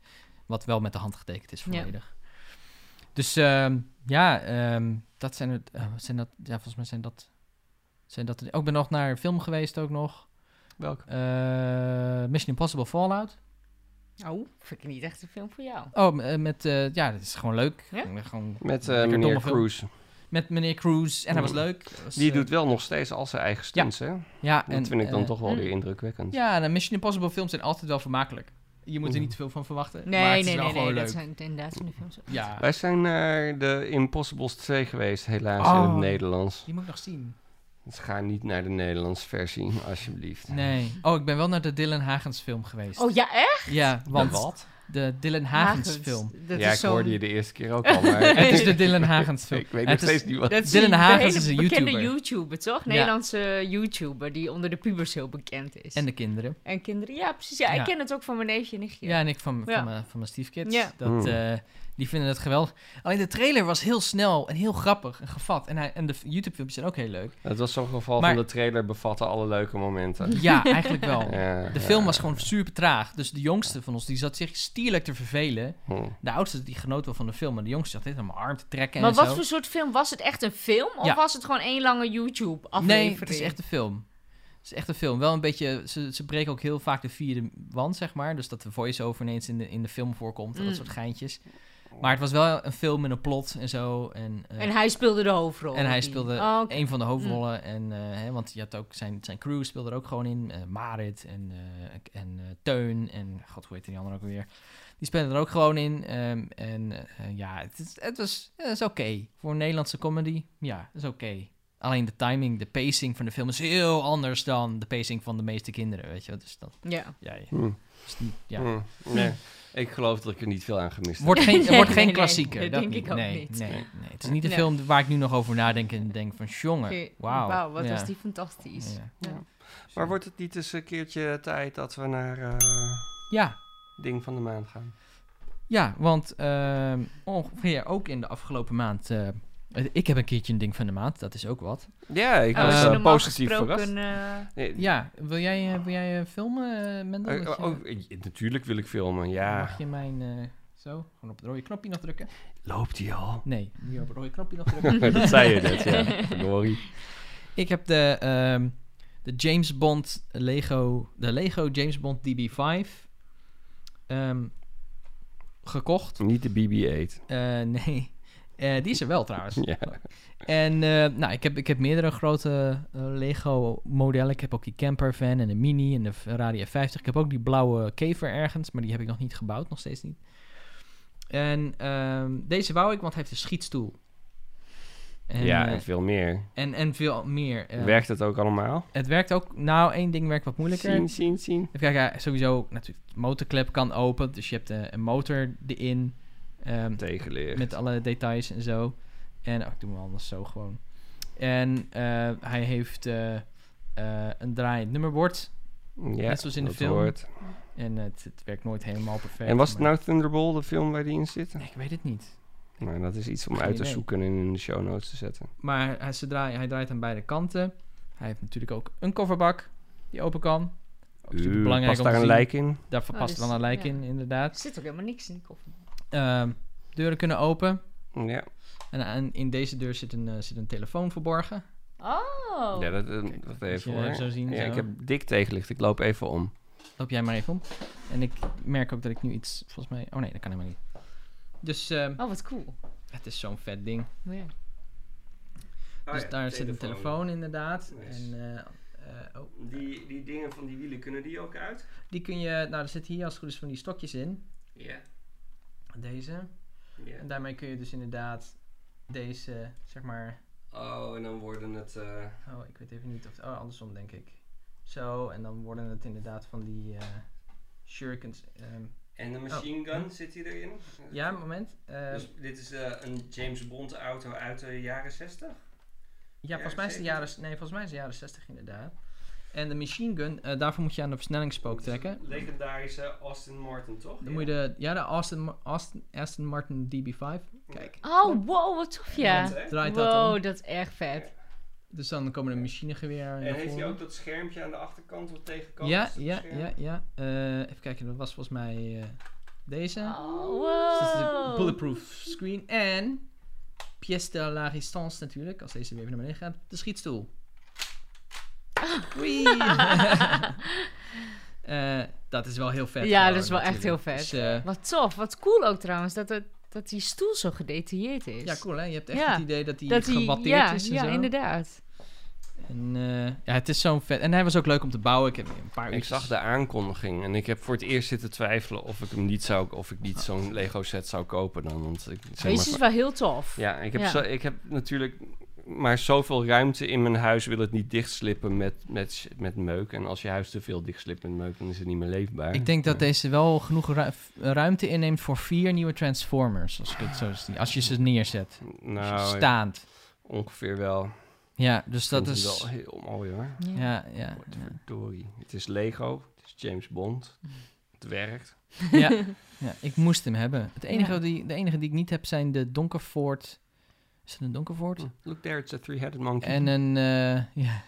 [SPEAKER 2] Wat wel met de hand getekend is
[SPEAKER 3] Ja.
[SPEAKER 2] volledig. Dus ehm, ja, ehm, dat zijn het. eh, zijn dat, ja, volgens mij zijn dat. Zijn dat de- ook ben nog naar een film geweest ook nog.
[SPEAKER 1] Welke?
[SPEAKER 2] Eh, Mission Impossible Fallout.
[SPEAKER 3] Oh, vind ik niet echt een film voor jou.
[SPEAKER 2] Oh, m- eh, met, eh, ja, dat is gewoon leuk.
[SPEAKER 3] Ja?
[SPEAKER 2] Gewoon
[SPEAKER 1] Met eh
[SPEAKER 2] Lekker
[SPEAKER 1] meneer
[SPEAKER 2] domme film.
[SPEAKER 1] Cruise.
[SPEAKER 2] met meneer Cruz. En hij was
[SPEAKER 1] Mm.
[SPEAKER 2] leuk. Dat was,
[SPEAKER 1] Die
[SPEAKER 2] eh,
[SPEAKER 1] doet wel nog steeds al zijn eigen stunts, hè?
[SPEAKER 2] ja,
[SPEAKER 1] Dat vind ik dan
[SPEAKER 2] eh,
[SPEAKER 1] toch wel
[SPEAKER 3] mm.
[SPEAKER 1] weer indrukwekkend.
[SPEAKER 2] Ja, en de Mission Impossible films zijn altijd wel vermakelijk. Je moet er
[SPEAKER 1] Mm.
[SPEAKER 2] niet te veel van verwachten.
[SPEAKER 3] Nee,
[SPEAKER 2] maar het
[SPEAKER 3] nee,
[SPEAKER 2] is
[SPEAKER 3] nee,
[SPEAKER 2] wel
[SPEAKER 3] nee,
[SPEAKER 2] gewoon leuk.
[SPEAKER 3] dat zijn het inderdaad van de films.
[SPEAKER 2] Ja,
[SPEAKER 1] Wij zijn naar de Impossibles 2 geweest, helaas, in
[SPEAKER 2] Oh.
[SPEAKER 1] het Nederlands.
[SPEAKER 2] die moet ik nog zien.
[SPEAKER 1] Dus ga niet naar de Nederlandse versie, alsjeblieft.
[SPEAKER 2] Nee. Oh, ik ben wel naar de Dylan Hagens film geweest.
[SPEAKER 3] Oh ja, echt?
[SPEAKER 2] Ja, want
[SPEAKER 1] wat?
[SPEAKER 2] de Dylan Hagens, film.
[SPEAKER 3] Dat
[SPEAKER 1] ja,
[SPEAKER 3] is
[SPEAKER 1] ik
[SPEAKER 3] zo'n-
[SPEAKER 1] hoorde je de eerste keer ook al, maar...
[SPEAKER 2] Het is de Dylan Hagens film.
[SPEAKER 1] ik weet nog
[SPEAKER 2] het
[SPEAKER 1] steeds
[SPEAKER 2] is,
[SPEAKER 1] niet wat...
[SPEAKER 3] Dat is
[SPEAKER 2] Dylan
[SPEAKER 3] die
[SPEAKER 2] Hagens
[SPEAKER 3] hele
[SPEAKER 2] is een
[SPEAKER 3] bekende
[SPEAKER 2] YouTuber.
[SPEAKER 3] YouTuber, toch? Nederlandse YouTuber die onder de pubers heel bekend is.
[SPEAKER 2] en de kinderen.
[SPEAKER 3] En kinderen, ja, precies. Ja,
[SPEAKER 2] Ja.
[SPEAKER 3] ik ken het ook van mijn neefje en nichtje.
[SPEAKER 2] Ja, en ik van,
[SPEAKER 3] Ja.
[SPEAKER 2] van, mijn, van mijn stiefkids.
[SPEAKER 3] Ja.
[SPEAKER 2] Dat,
[SPEAKER 1] Mm.
[SPEAKER 2] eh, die vinden het geweldig. Alleen de trailer was heel snel en heel grappig en gevat. En, hij, en de YouTube-filmpjes zijn ook heel leuk.
[SPEAKER 1] Het was zo'n geval
[SPEAKER 2] Maar-
[SPEAKER 1] van de trailer bevatte alle leuke momenten.
[SPEAKER 2] Ja, eigenlijk wel.
[SPEAKER 1] Ja,
[SPEAKER 2] De
[SPEAKER 1] ja.
[SPEAKER 2] film was gewoon super traag. Dus de jongste van ons die zat zich sierlijk te vervelen.
[SPEAKER 1] Hm.
[SPEAKER 2] De oudste die genoot wel van de film, maar de jongste zat dit aan mijn arm te trekken
[SPEAKER 3] Maar
[SPEAKER 2] en
[SPEAKER 3] wat
[SPEAKER 2] zo.
[SPEAKER 3] voor soort film? Was het echt een film? Of
[SPEAKER 2] Ja.
[SPEAKER 3] was het gewoon één lange YouTube-aflevering?
[SPEAKER 2] Nee, het is echt een film. Het is echt een film. Wel een beetje, ze, ze breken ook heel vaak de vierde wand, zeg maar. Dus dat de voice-over ineens in de, in de film voorkomt en
[SPEAKER 3] Mm.
[SPEAKER 2] dat soort geintjes. Maar het was wel een film met een plot en zo. En, eh,
[SPEAKER 3] En hij speelde de hoofdrol.
[SPEAKER 2] en hij
[SPEAKER 3] die-
[SPEAKER 2] speelde
[SPEAKER 3] Oh, oké.
[SPEAKER 2] een van de hoofdrollen. En, eh, hè, want je had ook zijn, zijn crew speelde er ook gewoon in. Eh, Marit en, eh, en eh, Teun en god, hoe heet die andere ook weer. Die speelden er ook gewoon in. Ehm, en eh, ja, het, is, het was eh, het is oké. Voor een Nederlandse comedy, ja, het is oké. Alleen de timing, de pacing van de film is heel anders dan de pacing van de meeste kinderen, weet je. wel. Dus dat,
[SPEAKER 3] Ja.
[SPEAKER 2] ja, ja.
[SPEAKER 1] Hm.
[SPEAKER 2] Dus die- ja.
[SPEAKER 1] Hm. Nee. Ik geloof dat ik er niet veel aan gemist heb.
[SPEAKER 2] Wordt geen,
[SPEAKER 3] Nee,
[SPEAKER 2] wordt
[SPEAKER 3] nee,
[SPEAKER 2] geen
[SPEAKER 3] nee,
[SPEAKER 2] klassieker.
[SPEAKER 3] dat
[SPEAKER 2] dat
[SPEAKER 3] denk
[SPEAKER 2] niet.
[SPEAKER 3] ik ook
[SPEAKER 2] nee,
[SPEAKER 3] niet.
[SPEAKER 2] Nee, nee. Het is niet de
[SPEAKER 3] Nee.
[SPEAKER 2] film waar ik nu nog over nadenk en denk van, jongen,
[SPEAKER 3] Oké,
[SPEAKER 2] wauw.
[SPEAKER 3] wat
[SPEAKER 2] Ja.
[SPEAKER 3] was die fantastisch.
[SPEAKER 2] Ja.
[SPEAKER 3] Ja.
[SPEAKER 1] Maar wordt het niet eens een keertje tijd dat we naar eh,
[SPEAKER 2] Ja,
[SPEAKER 1] Ding van de Maand gaan?
[SPEAKER 2] ja want ehm, ongeveer ook in de afgelopen maand... eh, ik heb een keertje een ding van de maand, dat is ook wat.
[SPEAKER 1] Ja, ik
[SPEAKER 2] Eh,
[SPEAKER 1] was
[SPEAKER 2] als
[SPEAKER 1] eh,
[SPEAKER 2] je
[SPEAKER 3] Oh, normaal
[SPEAKER 1] positief
[SPEAKER 3] gesproken,
[SPEAKER 1] verrast.
[SPEAKER 3] eh,
[SPEAKER 1] Nee,
[SPEAKER 2] Ja, wil jij, eh, wil jij eh, filmen, eh, Mendel?
[SPEAKER 1] eh,
[SPEAKER 2] Dat je-
[SPEAKER 1] oh, eh, natuurlijk wil ik filmen, ja.
[SPEAKER 2] Mag je mijn... eh, zo, gewoon op het rode knopje nog drukken?
[SPEAKER 1] Loopt hij al?
[SPEAKER 2] Nee, moet je op het rode knopje nog drukken.
[SPEAKER 1] dat zei je net, ja. Verdorie.
[SPEAKER 2] Ik heb de, ehm, de James Bond Lego, de Lego James Bond DB5 ehm, gekocht.
[SPEAKER 1] Niet de BB-8.
[SPEAKER 2] Eh, nee, Eh, die is er wel trouwens.
[SPEAKER 1] Ja.
[SPEAKER 2] En eh, nou, ik heb, ik heb meerdere grote eh, Lego modellen. Ik heb ook die camper van en de Mini en de Ferrari F50. Ik heb ook die blauwe kever ergens, maar die heb ik nog niet gebouwd, nog steeds niet. En ehm, deze wou ik, want hij heeft een schietstoel. En,
[SPEAKER 1] ja,
[SPEAKER 2] eh,
[SPEAKER 1] en veel meer.
[SPEAKER 2] en, en veel meer. eh,
[SPEAKER 1] Werkt het ook allemaal?
[SPEAKER 2] het werkt ook. Nou, één ding werkt wat moeilijker.
[SPEAKER 1] Zien, zien, zien.
[SPEAKER 2] Even kijken, ja, sowieso natuurlijk. De motorklep kan open, dus je hebt eh, een motor erin. ehm,
[SPEAKER 1] Tegenleer.
[SPEAKER 2] met alle details en zo. En oh, ik doe hem anders zo gewoon. En eh, hij heeft eh, eh, een draaiend nummerbord.
[SPEAKER 1] ja,
[SPEAKER 2] net zoals in de
[SPEAKER 1] dat
[SPEAKER 2] film.
[SPEAKER 1] hoort.
[SPEAKER 2] En het, het werkt nooit helemaal perfect.
[SPEAKER 1] En was het
[SPEAKER 2] maar-
[SPEAKER 1] nou Thunderball, de film waar die in zit?
[SPEAKER 2] Nee, ik weet het niet.
[SPEAKER 1] Nou, dat is iets om
[SPEAKER 2] Geen
[SPEAKER 1] uit te
[SPEAKER 2] idee.
[SPEAKER 1] zoeken en in de show notes te zetten.
[SPEAKER 2] Maar hij, ze draai- hij draait aan beide kanten. Hij heeft natuurlijk ook een kofferbak die open kan. Ook
[SPEAKER 1] Uw,
[SPEAKER 2] superbelangrijk
[SPEAKER 1] past
[SPEAKER 2] om
[SPEAKER 1] daar
[SPEAKER 2] te
[SPEAKER 1] een
[SPEAKER 2] zien.
[SPEAKER 1] lijk in?
[SPEAKER 2] Daar verpast
[SPEAKER 3] Oh,
[SPEAKER 2] dan
[SPEAKER 3] dus-
[SPEAKER 2] een lijk
[SPEAKER 3] ja.
[SPEAKER 2] in,
[SPEAKER 3] er
[SPEAKER 2] inderdaad.
[SPEAKER 3] zit ook helemaal niks in die koffie.
[SPEAKER 2] Ehm, deuren kunnen open.
[SPEAKER 1] Ja,
[SPEAKER 2] En, en in deze deur zit een, eh, zit een telefoon verborgen.
[SPEAKER 3] Oh.
[SPEAKER 1] ja dat, eh,
[SPEAKER 2] Kijk,
[SPEAKER 1] wacht
[SPEAKER 2] moet
[SPEAKER 1] even
[SPEAKER 2] je
[SPEAKER 1] hoor.
[SPEAKER 2] even zo zien,
[SPEAKER 1] ja,
[SPEAKER 2] zo.
[SPEAKER 1] ik heb dik tegenlicht. Ik loop even om.
[SPEAKER 2] Loop jij maar even om. En ik merk ook dat ik nu iets, volgens mij... Oh nee, dat kan helemaal niet. Dus ehm,
[SPEAKER 3] Oh, wat cool.
[SPEAKER 2] het is zo'n vet ding.
[SPEAKER 3] Ja.
[SPEAKER 2] dus daar zit een telefoon inderdaad.
[SPEAKER 1] Oh Nice.
[SPEAKER 2] En, eh, eh, oh,
[SPEAKER 1] Die, die dingen van die wielen, kunnen die ook uit?
[SPEAKER 2] die kun je... Nou, er zitten hier als het goed is van die stokjes in.
[SPEAKER 1] Ja.
[SPEAKER 2] Deze. En daarmee kun je dus inderdaad deze, zeg maar...
[SPEAKER 1] Oh, en dan worden het... eh,
[SPEAKER 2] Oh, ik weet even niet of... Oh, andersom denk ik. Zo, en dan worden het inderdaad van die eh shurikens. ehm.
[SPEAKER 1] En de
[SPEAKER 2] machine gun,
[SPEAKER 1] zit die erin? dus
[SPEAKER 2] ja, moment. Eh,
[SPEAKER 1] dit is een James Bond auto uit de jaren 60?
[SPEAKER 2] Ja, volgens mij is het de jaren, nee, volgens mij is het de jaren 60 inderdaad. En de machine gun, eh, daarvoor moet je aan de versnellingspook trekken.
[SPEAKER 1] Legendarische Austin Martin, toch?
[SPEAKER 2] Dan moet je de, ja, de Aston, Ma- Aston, Aston Martin DB5. Kijk.
[SPEAKER 3] Oh, wow, wat tof, ja.
[SPEAKER 2] Draait dat om.
[SPEAKER 3] Wow, dat is echt vet.
[SPEAKER 2] Dus dan komen de machinegeweer naar voren.
[SPEAKER 1] dat schermpje aan de achterkant wat tegenkant?
[SPEAKER 2] Ja, ja, ja, ja. Eh, even kijken, dat was volgens mij eh, deze.
[SPEAKER 3] Oh,
[SPEAKER 2] Dus dat is een
[SPEAKER 3] wow.
[SPEAKER 2] bulletproof screen. En pièce de la résistance natuurlijk, als deze weer even naar beneden gaat. De schietstoel. Oei! Eh, dat is wel heel vet.
[SPEAKER 3] Ja,
[SPEAKER 2] gewoon,
[SPEAKER 3] dat is wel echt
[SPEAKER 2] natuurlijk.
[SPEAKER 3] heel vet.
[SPEAKER 2] Dus, eh,
[SPEAKER 3] Wat tof. Wat cool ook trouwens, dat, het, dat die stoel zo gedetailleerd is.
[SPEAKER 2] ja, cool hè. Je hebt echt
[SPEAKER 3] Ja.
[SPEAKER 2] het idee dat hij
[SPEAKER 3] Dat die,
[SPEAKER 2] gewatteerd
[SPEAKER 3] ja,
[SPEAKER 2] is en
[SPEAKER 3] ja
[SPEAKER 2] zo.
[SPEAKER 3] inderdaad.
[SPEAKER 2] En, eh, ja, het is zo'n vet. En hij was ook leuk om te bouwen. Ik heb een paar
[SPEAKER 1] Nou, Ik
[SPEAKER 2] uurtjes-
[SPEAKER 1] zag de aankondiging en ik heb voor het eerst zitten twijfelen of ik hem niet zou, of ik
[SPEAKER 2] Ah.
[SPEAKER 1] niet zo'n Lego set zou kopen dan. Want ik, zeg
[SPEAKER 3] Deze
[SPEAKER 1] maar-
[SPEAKER 3] is wel heel tof.
[SPEAKER 1] ja, ik heb,
[SPEAKER 3] Ja.
[SPEAKER 1] Zo, ik heb natuurlijk maar zoveel ruimte in mijn huis wil het niet dichtslippen met, met, sh- met meuk. En als je huis te veel dichtslipt met meuk, dan is het niet meer leefbaar.
[SPEAKER 2] Ik denk dat deze wel genoeg ru- ruimte inneemt voor vier nieuwe Transformers. Als, ik het zo zie. als je ze neerzet. Als je
[SPEAKER 1] Nou,
[SPEAKER 2] staand.
[SPEAKER 1] ongeveer wel.
[SPEAKER 2] Ja, dus dat
[SPEAKER 1] Vind
[SPEAKER 2] is.
[SPEAKER 1] ik wel heel mooi hoor.
[SPEAKER 3] Ja.
[SPEAKER 2] Ja, ja.
[SPEAKER 1] Verdorie. Het is Lego, het is James Bond.
[SPEAKER 2] Mm.
[SPEAKER 1] Het werkt.
[SPEAKER 2] Ja. ja. ja, ik moest hem hebben. Het enige
[SPEAKER 3] Ja.
[SPEAKER 2] die, de enige die ik niet heb zijn de Donkervoort. Is het een Donkervoort?
[SPEAKER 3] Hm.
[SPEAKER 1] Look there, it's a three-headed monkey.
[SPEAKER 2] En een. eh, ja.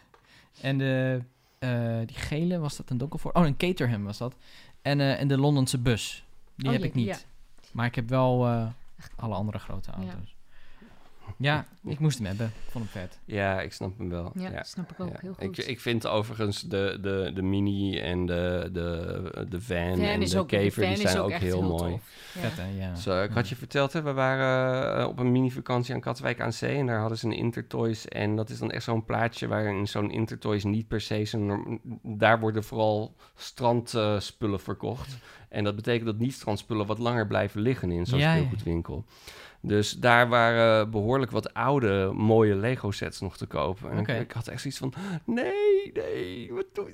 [SPEAKER 2] En de. eh, die gele, was dat een Donkervoort? Oh, een Caterham was dat. En, eh, en de Londense bus. Die
[SPEAKER 3] Oh
[SPEAKER 2] heb
[SPEAKER 3] jee,
[SPEAKER 2] ik niet.
[SPEAKER 3] ja.
[SPEAKER 2] Maar ik heb wel eh, alle andere grote auto's. Ja. ik moest hem hebben. Ik vond hem vet.
[SPEAKER 1] Ja, ik snap hem wel.
[SPEAKER 3] Ja,
[SPEAKER 1] Ja.
[SPEAKER 3] snap ik ook
[SPEAKER 1] Ja.
[SPEAKER 3] heel goed.
[SPEAKER 1] Ik, ik vind overigens de, de, de mini en de, de, de van,
[SPEAKER 3] Van
[SPEAKER 1] en
[SPEAKER 3] is
[SPEAKER 1] de
[SPEAKER 3] ook,
[SPEAKER 1] kever,
[SPEAKER 3] Van
[SPEAKER 1] die
[SPEAKER 3] is
[SPEAKER 1] zijn ook,
[SPEAKER 3] echt
[SPEAKER 1] heel, mooi.
[SPEAKER 3] tof. Ja.
[SPEAKER 2] Vet, hè? Ja.
[SPEAKER 1] Zo, ik had je verteld, hè, we waren eh, op een mini-vakantie aan Katwijk aan Zee en daar hadden ze een Intertoys. En dat is dan echt zo'n plaatje waarin zo'n Intertoys niet per se zijn... norm- Daar worden vooral strandspullen verkocht. En dat betekent dat niet-strandspullen wat langer blijven liggen in zo'n
[SPEAKER 2] Ja, ja.
[SPEAKER 1] speelgoedwinkel. Dus daar waren behoorlijk wat oude, mooie Lego-sets nog te kopen. En ik-
[SPEAKER 2] Oké.
[SPEAKER 1] ik, had echt zoiets van, nee, nee, wat doe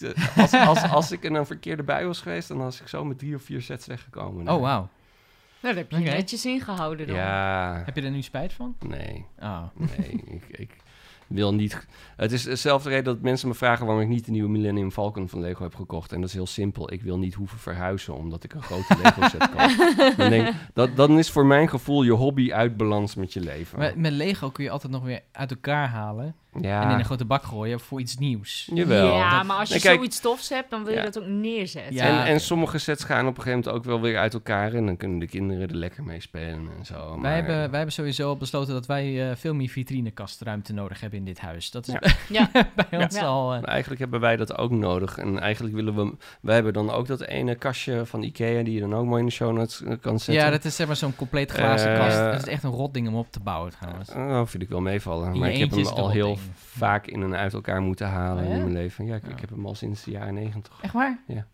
[SPEAKER 1] je? Als, als, als ik in een verkeerde bui was geweest, dan was ik zo met drie of vier sets weggekomen.
[SPEAKER 2] Oh, wauw.
[SPEAKER 3] Nou, daar heb je
[SPEAKER 2] Oké.
[SPEAKER 3] netjes ingehouden dan.
[SPEAKER 1] Ja,
[SPEAKER 2] Heb je er nu spijt van?
[SPEAKER 1] nee,
[SPEAKER 2] Oh.
[SPEAKER 1] nee, ik, ik wil niet... Het is dezelfde reden dat mensen me vragen waarom ik niet de nieuwe Millennium Falcon van Lego heb gekocht. En dat is heel simpel. Ik wil niet hoeven verhuizen omdat ik een grote Lego set koop. Dan, denk, dat, dan is voor mijn gevoel je hobby uit balans met je leven.
[SPEAKER 2] Met, met Lego kun je altijd nog weer uit elkaar halen. En in een
[SPEAKER 1] ja,
[SPEAKER 2] grote bak gooien voor iets nieuws.
[SPEAKER 1] jawel.
[SPEAKER 3] Ja,
[SPEAKER 2] Dat-
[SPEAKER 3] maar als je
[SPEAKER 1] Nee, kijk-
[SPEAKER 3] zoiets tofs hebt, dan wil je
[SPEAKER 1] Ja.
[SPEAKER 3] dat ook neerzetten.
[SPEAKER 2] Ja,
[SPEAKER 1] en,
[SPEAKER 2] oké.
[SPEAKER 1] en sommige sets gaan op een gegeven moment ook wel weer uit elkaar. En dan kunnen de kinderen er lekker mee spelen en zo. maar-
[SPEAKER 2] Wij, hebben, wij hebben sowieso al besloten dat wij eh veel meer vitreinekastruimte nodig hebben in dit huis. Dat is
[SPEAKER 1] Ja.
[SPEAKER 3] Ja.
[SPEAKER 2] bij ons
[SPEAKER 3] Ja.
[SPEAKER 2] al... eh,
[SPEAKER 1] Maar eigenlijk hebben wij dat ook nodig. En eigenlijk willen we... Wij hebben dan ook dat ene kastje van Ikea... die je dan ook mooi in de show notes eh, kan zetten.
[SPEAKER 2] ja, dat is zeg maar zo'n compleet glazen
[SPEAKER 1] Eh,
[SPEAKER 2] kast. Dat is echt een rot ding om op te bouwen trouwens.
[SPEAKER 1] Eh, nou, vind ik wel meevallen.
[SPEAKER 2] je
[SPEAKER 1] Maar ik heb
[SPEAKER 2] eentje
[SPEAKER 1] hem
[SPEAKER 2] is het
[SPEAKER 1] al
[SPEAKER 2] wel
[SPEAKER 1] heel
[SPEAKER 2] ding.
[SPEAKER 1] vaak in en uit elkaar moeten halen
[SPEAKER 2] Oh, ja?
[SPEAKER 1] in mijn leven. Ja, ik,
[SPEAKER 2] Ja.
[SPEAKER 1] ik heb hem al sinds de jaren negentig.
[SPEAKER 2] Echt waar?
[SPEAKER 1] Ja.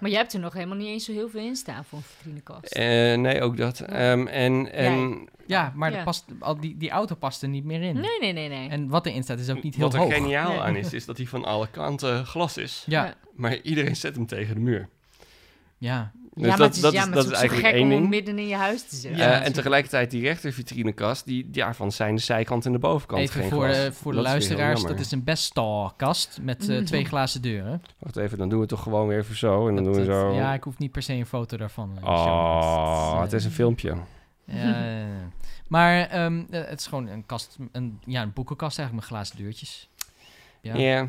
[SPEAKER 3] Maar jij hebt er nog helemaal niet eens zo heel veel in staan voor een vitrinekast.
[SPEAKER 1] Eh, nee, ook dat. Ehm, en en
[SPEAKER 2] Ja, maar
[SPEAKER 3] Ja.
[SPEAKER 2] er past, al die, die auto past er niet meer in.
[SPEAKER 3] Nee, nee, nee, nee.
[SPEAKER 2] En wat erin staat is ook niet heel
[SPEAKER 1] wat er
[SPEAKER 2] hoog.
[SPEAKER 1] geniaal
[SPEAKER 3] Nee.
[SPEAKER 1] aan is, is dat hij van alle kanten glas is.
[SPEAKER 2] Ja,
[SPEAKER 1] Maar iedereen zet hem tegen de muur.
[SPEAKER 2] ja.
[SPEAKER 1] Dus
[SPEAKER 3] ja, maar
[SPEAKER 1] dat-
[SPEAKER 3] het is,
[SPEAKER 1] dat
[SPEAKER 3] ja,
[SPEAKER 1] is-
[SPEAKER 3] maar
[SPEAKER 1] dat
[SPEAKER 3] het
[SPEAKER 1] is
[SPEAKER 3] is ook zo
[SPEAKER 1] eigenlijk
[SPEAKER 3] gek
[SPEAKER 1] één
[SPEAKER 3] om hem
[SPEAKER 1] ding.
[SPEAKER 3] midden in je huis te zetten.
[SPEAKER 2] Ja,
[SPEAKER 1] Eh, en
[SPEAKER 2] natuurlijk.
[SPEAKER 1] tegelijkertijd die rechter vitrinekast, die, daarvan zijn de zijkant en de bovenkant
[SPEAKER 2] Even
[SPEAKER 1] geen
[SPEAKER 2] voor,
[SPEAKER 1] glas.
[SPEAKER 2] eh, voor de
[SPEAKER 1] Dat is weer heel
[SPEAKER 2] luisteraars,
[SPEAKER 1] jammer.
[SPEAKER 2] dat is een bestalkast met eh,
[SPEAKER 3] Mhm.
[SPEAKER 2] twee glazen deuren.
[SPEAKER 1] Wacht even, dan doen we het toch gewoon weer even zo. En dan
[SPEAKER 2] Dat-
[SPEAKER 1] doen we
[SPEAKER 2] dat-
[SPEAKER 1] zo.
[SPEAKER 2] Ja, ik hoef niet per se een foto daarvan. eh, in de show notes.
[SPEAKER 1] Oh,
[SPEAKER 2] Dat
[SPEAKER 1] het is een
[SPEAKER 2] eh,
[SPEAKER 1] filmpje.
[SPEAKER 2] ja, ja, ja. maar ehm, eh, het is gewoon een kast, een, ja, een boekenkast eigenlijk met glazen deurtjes. Ja.
[SPEAKER 1] Ja.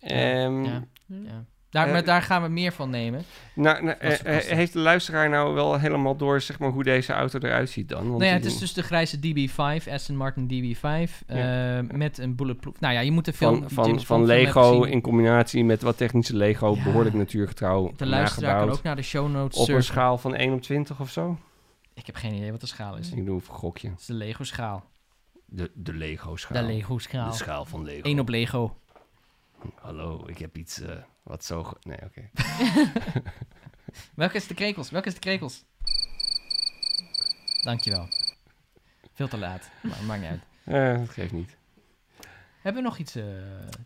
[SPEAKER 1] Ehm,
[SPEAKER 2] Ja. Ja. Daar,
[SPEAKER 1] Eh,
[SPEAKER 2] maar daar gaan we meer van nemen.
[SPEAKER 1] Nou, nou,
[SPEAKER 2] Dat is
[SPEAKER 1] eh, eh,
[SPEAKER 2] fantastisch.
[SPEAKER 1] heeft de luisteraar nou wel helemaal door zeg maar, hoe deze auto eruit ziet dan? Want
[SPEAKER 2] Nou ja, het
[SPEAKER 1] die-
[SPEAKER 2] is dus de grijze DB5, Aston Martin DB5, eh, met een bulletproof. Nou ja, je moet de film
[SPEAKER 1] van, van,
[SPEAKER 2] James
[SPEAKER 1] van
[SPEAKER 2] Bond film hebben
[SPEAKER 1] Lego
[SPEAKER 2] gezien.
[SPEAKER 1] in combinatie met wat technische Lego,
[SPEAKER 2] Ja.
[SPEAKER 1] behoorlijk natuurgetrouw
[SPEAKER 2] De luisteraar kan
[SPEAKER 1] nagebouwd.
[SPEAKER 2] ook naar de show notes
[SPEAKER 1] Op een
[SPEAKER 2] surfen.
[SPEAKER 1] schaal van 1 op 20 of zo?
[SPEAKER 2] Ik heb geen idee wat de schaal is.
[SPEAKER 1] Ik doe een gokje.
[SPEAKER 2] Het is de Lego schaal.
[SPEAKER 1] De, de Lego schaal.
[SPEAKER 2] De Lego schaal.
[SPEAKER 1] schaal van Lego.
[SPEAKER 2] Eén op Lego.
[SPEAKER 1] Hallo, ik heb iets eh, wat zo... ge- Nee, oké.
[SPEAKER 2] Welke is de krekels? Welke is de krekels? Dankjewel. Veel te laat, maar maakt niet uit.
[SPEAKER 1] Eh, dat geeft niet.
[SPEAKER 2] Hebben we nog iets eh,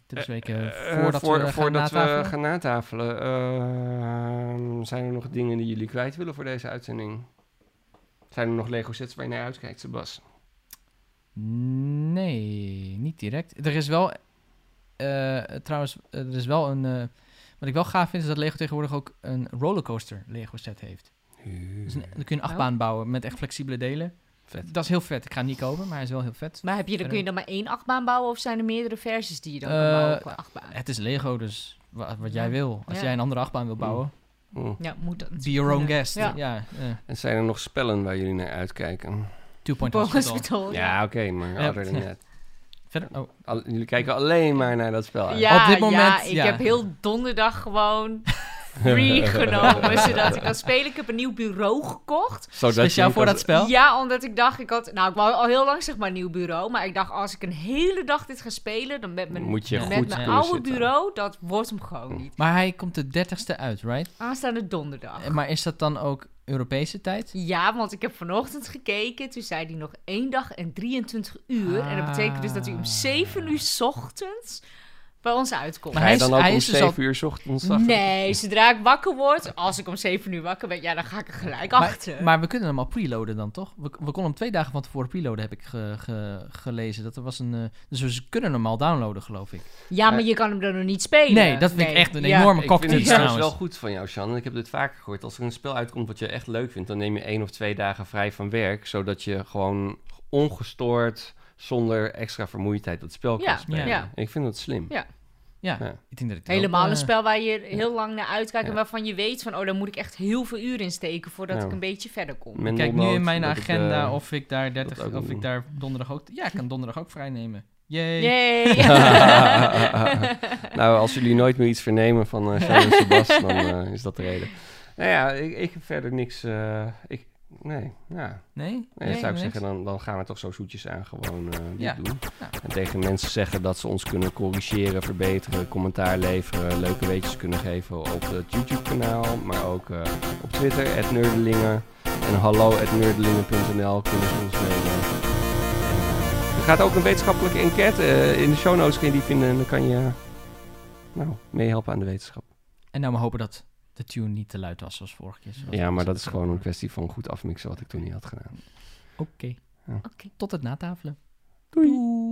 [SPEAKER 2] te bespreken
[SPEAKER 1] Eh,
[SPEAKER 2] voordat
[SPEAKER 1] voor-
[SPEAKER 2] we gaan
[SPEAKER 1] voordat
[SPEAKER 2] natafelen?
[SPEAKER 1] we gaan natafelen, ehm, zijn er nog dingen die jullie kwijt willen voor deze uitzending? Zijn er nog Lego sets waar je naar uitkijkt, Sebas?
[SPEAKER 2] Nee, niet direct. Er is wel, eh, trouwens, eh, er is wel een. eh, wat ik wel gaaf vind is dat Lego tegenwoordig ook een rollercoaster Lego set heeft. Dus een, dan kun
[SPEAKER 3] Nou.
[SPEAKER 2] je een achtbaan bouwen met echt flexibele delen.
[SPEAKER 1] Vet.
[SPEAKER 2] Dat is heel vet. Ik ga hem niet kopen, maar hij is wel heel vet.
[SPEAKER 3] Maar heb je, dan kun je dan maar één achtbaan bouwen of zijn er meerdere versies die je dan
[SPEAKER 2] Eh,
[SPEAKER 3] kan bouwen qua achtbaan?
[SPEAKER 2] Het is Lego, dus wa- wat
[SPEAKER 3] Ja.
[SPEAKER 2] jij wil. Als
[SPEAKER 3] Ja.
[SPEAKER 2] jij een andere achtbaan wil bouwen,
[SPEAKER 1] Mm.
[SPEAKER 3] Ja, moet dat.
[SPEAKER 2] be your own guest.
[SPEAKER 3] Ja.
[SPEAKER 2] Ja. eh,
[SPEAKER 1] En zijn er nog spellen waar jullie naar uitkijken?
[SPEAKER 2] two point
[SPEAKER 3] Boris
[SPEAKER 2] hospital.
[SPEAKER 3] Betal,
[SPEAKER 1] Ja, oké, maar
[SPEAKER 2] Ja.
[SPEAKER 1] other than that.
[SPEAKER 2] Verder? Oh.
[SPEAKER 1] Al- jullie kijken alleen maar naar dat spel uit.
[SPEAKER 3] Ja,
[SPEAKER 2] Op dit
[SPEAKER 3] ja,
[SPEAKER 2] moment,
[SPEAKER 3] ik
[SPEAKER 2] ja.
[SPEAKER 3] heb heel donderdag gewoon free genomen, zodat ik kan spelen. Ik heb een nieuw bureau gekocht.
[SPEAKER 1] Zodat
[SPEAKER 2] Speciaal
[SPEAKER 1] je
[SPEAKER 2] voor
[SPEAKER 1] kan-
[SPEAKER 2] dat spel?
[SPEAKER 3] Ja, omdat ik dacht, ik had, nou, ik wou al heel lang zeg maar een nieuw bureau, maar ik dacht, als ik een hele dag dit ga spelen, dan met mijn,
[SPEAKER 1] Moet je
[SPEAKER 2] met
[SPEAKER 1] goed
[SPEAKER 3] met mijn
[SPEAKER 1] kunnen
[SPEAKER 3] oude
[SPEAKER 1] zitten. Mm.
[SPEAKER 3] bureau, dat wordt hem gewoon niet.
[SPEAKER 2] Maar hij komt de 30ste uit, right?
[SPEAKER 3] Aanstaande donderdag.
[SPEAKER 2] Eh, Maar is dat dan ook Europese tijd?
[SPEAKER 3] Ja, want ik heb vanochtend gekeken. Toen zei hij nog één dag en 23 uur. En dat betekent dus dat hij om
[SPEAKER 2] Ah.
[SPEAKER 3] 7 uur 's ochtends bij ons uitkomt.
[SPEAKER 2] Maar
[SPEAKER 1] Ga
[SPEAKER 2] hij
[SPEAKER 1] je
[SPEAKER 2] is-
[SPEAKER 1] dan ook
[SPEAKER 2] hij
[SPEAKER 1] om
[SPEAKER 2] is dus
[SPEAKER 1] 7
[SPEAKER 2] al-
[SPEAKER 1] uur 's ochtends af?
[SPEAKER 3] Nee, zodra ik wakker word, als ik om 7 uur wakker ben, ja, dan ga ik er gelijk achter.
[SPEAKER 2] Maar, maar we kunnen hem al preloaden dan, toch? We, we konden hem twee dagen van tevoren preloaden, heb ik ge- ge- gelezen. Dat er was een, eh, dus we kunnen hem al downloaden, geloof ik.
[SPEAKER 3] ja, maar je kan hem dan nog niet spelen.
[SPEAKER 2] Nee, dat vind ik echt een
[SPEAKER 3] ja.
[SPEAKER 2] enorme
[SPEAKER 1] Ik vind
[SPEAKER 2] cocktail
[SPEAKER 1] het trouwens
[SPEAKER 2] trouwens.
[SPEAKER 1] wel goed van jou, Sjan. En ik heb dit vaker gehoord. Als er een spel uitkomt wat je echt leuk vindt, dan neem je één of twee dagen vrij van werk. Zodat je gewoon ongestoord, zonder extra vermoeidheid, dat spel
[SPEAKER 3] Ja,
[SPEAKER 1] kan spelen.
[SPEAKER 2] ja.
[SPEAKER 1] Ik vind dat slim.
[SPEAKER 3] Ja.
[SPEAKER 2] Ja,
[SPEAKER 1] Ja.
[SPEAKER 2] ik denk dat ik er
[SPEAKER 3] Helemaal
[SPEAKER 2] ook,
[SPEAKER 3] een
[SPEAKER 2] eh,
[SPEAKER 3] spel waar je heel lang naar uitkijkt en
[SPEAKER 1] Ja.
[SPEAKER 3] waarvan je weet van, oh, daar moet ik echt heel veel uren in steken voordat
[SPEAKER 1] Ja.
[SPEAKER 3] ik een beetje verder kom.
[SPEAKER 1] Mendelnood,
[SPEAKER 2] Ik kijk nu in mijn
[SPEAKER 1] dat ik, eh,
[SPEAKER 2] agenda of ik daar 30,
[SPEAKER 1] dat ook
[SPEAKER 2] of
[SPEAKER 1] doen.
[SPEAKER 2] ik daar donderdag ook. Ja, ik kan donderdag ook vrij nemen. Jee.
[SPEAKER 3] Yay!
[SPEAKER 1] nou, als jullie nooit meer iets vernemen van eh Simon en Sebas, dan eh, is dat de reden. Nou ja, ik, ik heb verder niks... eh, ik, nee, ja.
[SPEAKER 2] Nee?
[SPEAKER 1] Nee, zou ik zeggen, dan, dan gaan we toch zo zoetjes aan gewoon eh, dit
[SPEAKER 2] Ja.
[SPEAKER 1] doen.
[SPEAKER 2] Ja.
[SPEAKER 1] En tegen mensen zeggen dat ze ons kunnen corrigeren, verbeteren, commentaar leveren, leuke weetjes kunnen geven op het YouTube-kanaal, maar ook eh, op Twitter, at nerdelingen. En hallo at nerdelingen.nl kunnen ze ons mailen. En, eh, Er gaat ook een wetenschappelijke enquête eh, in de show notes, kun je die vinden en dan kan je eh, nou, meehelpen aan de wetenschap.
[SPEAKER 2] En nou maar hopen dat de tune niet te luid was zoals vorige keer. zoals
[SPEAKER 1] Ja,
[SPEAKER 2] ik
[SPEAKER 1] maar
[SPEAKER 2] zei.
[SPEAKER 1] dat is gewoon een kwestie van goed afmixen wat ik toen niet had gedaan.
[SPEAKER 2] Oké.
[SPEAKER 1] Ja.
[SPEAKER 3] Oké.
[SPEAKER 2] Tot het natafelen.
[SPEAKER 1] Doei!
[SPEAKER 2] Doei.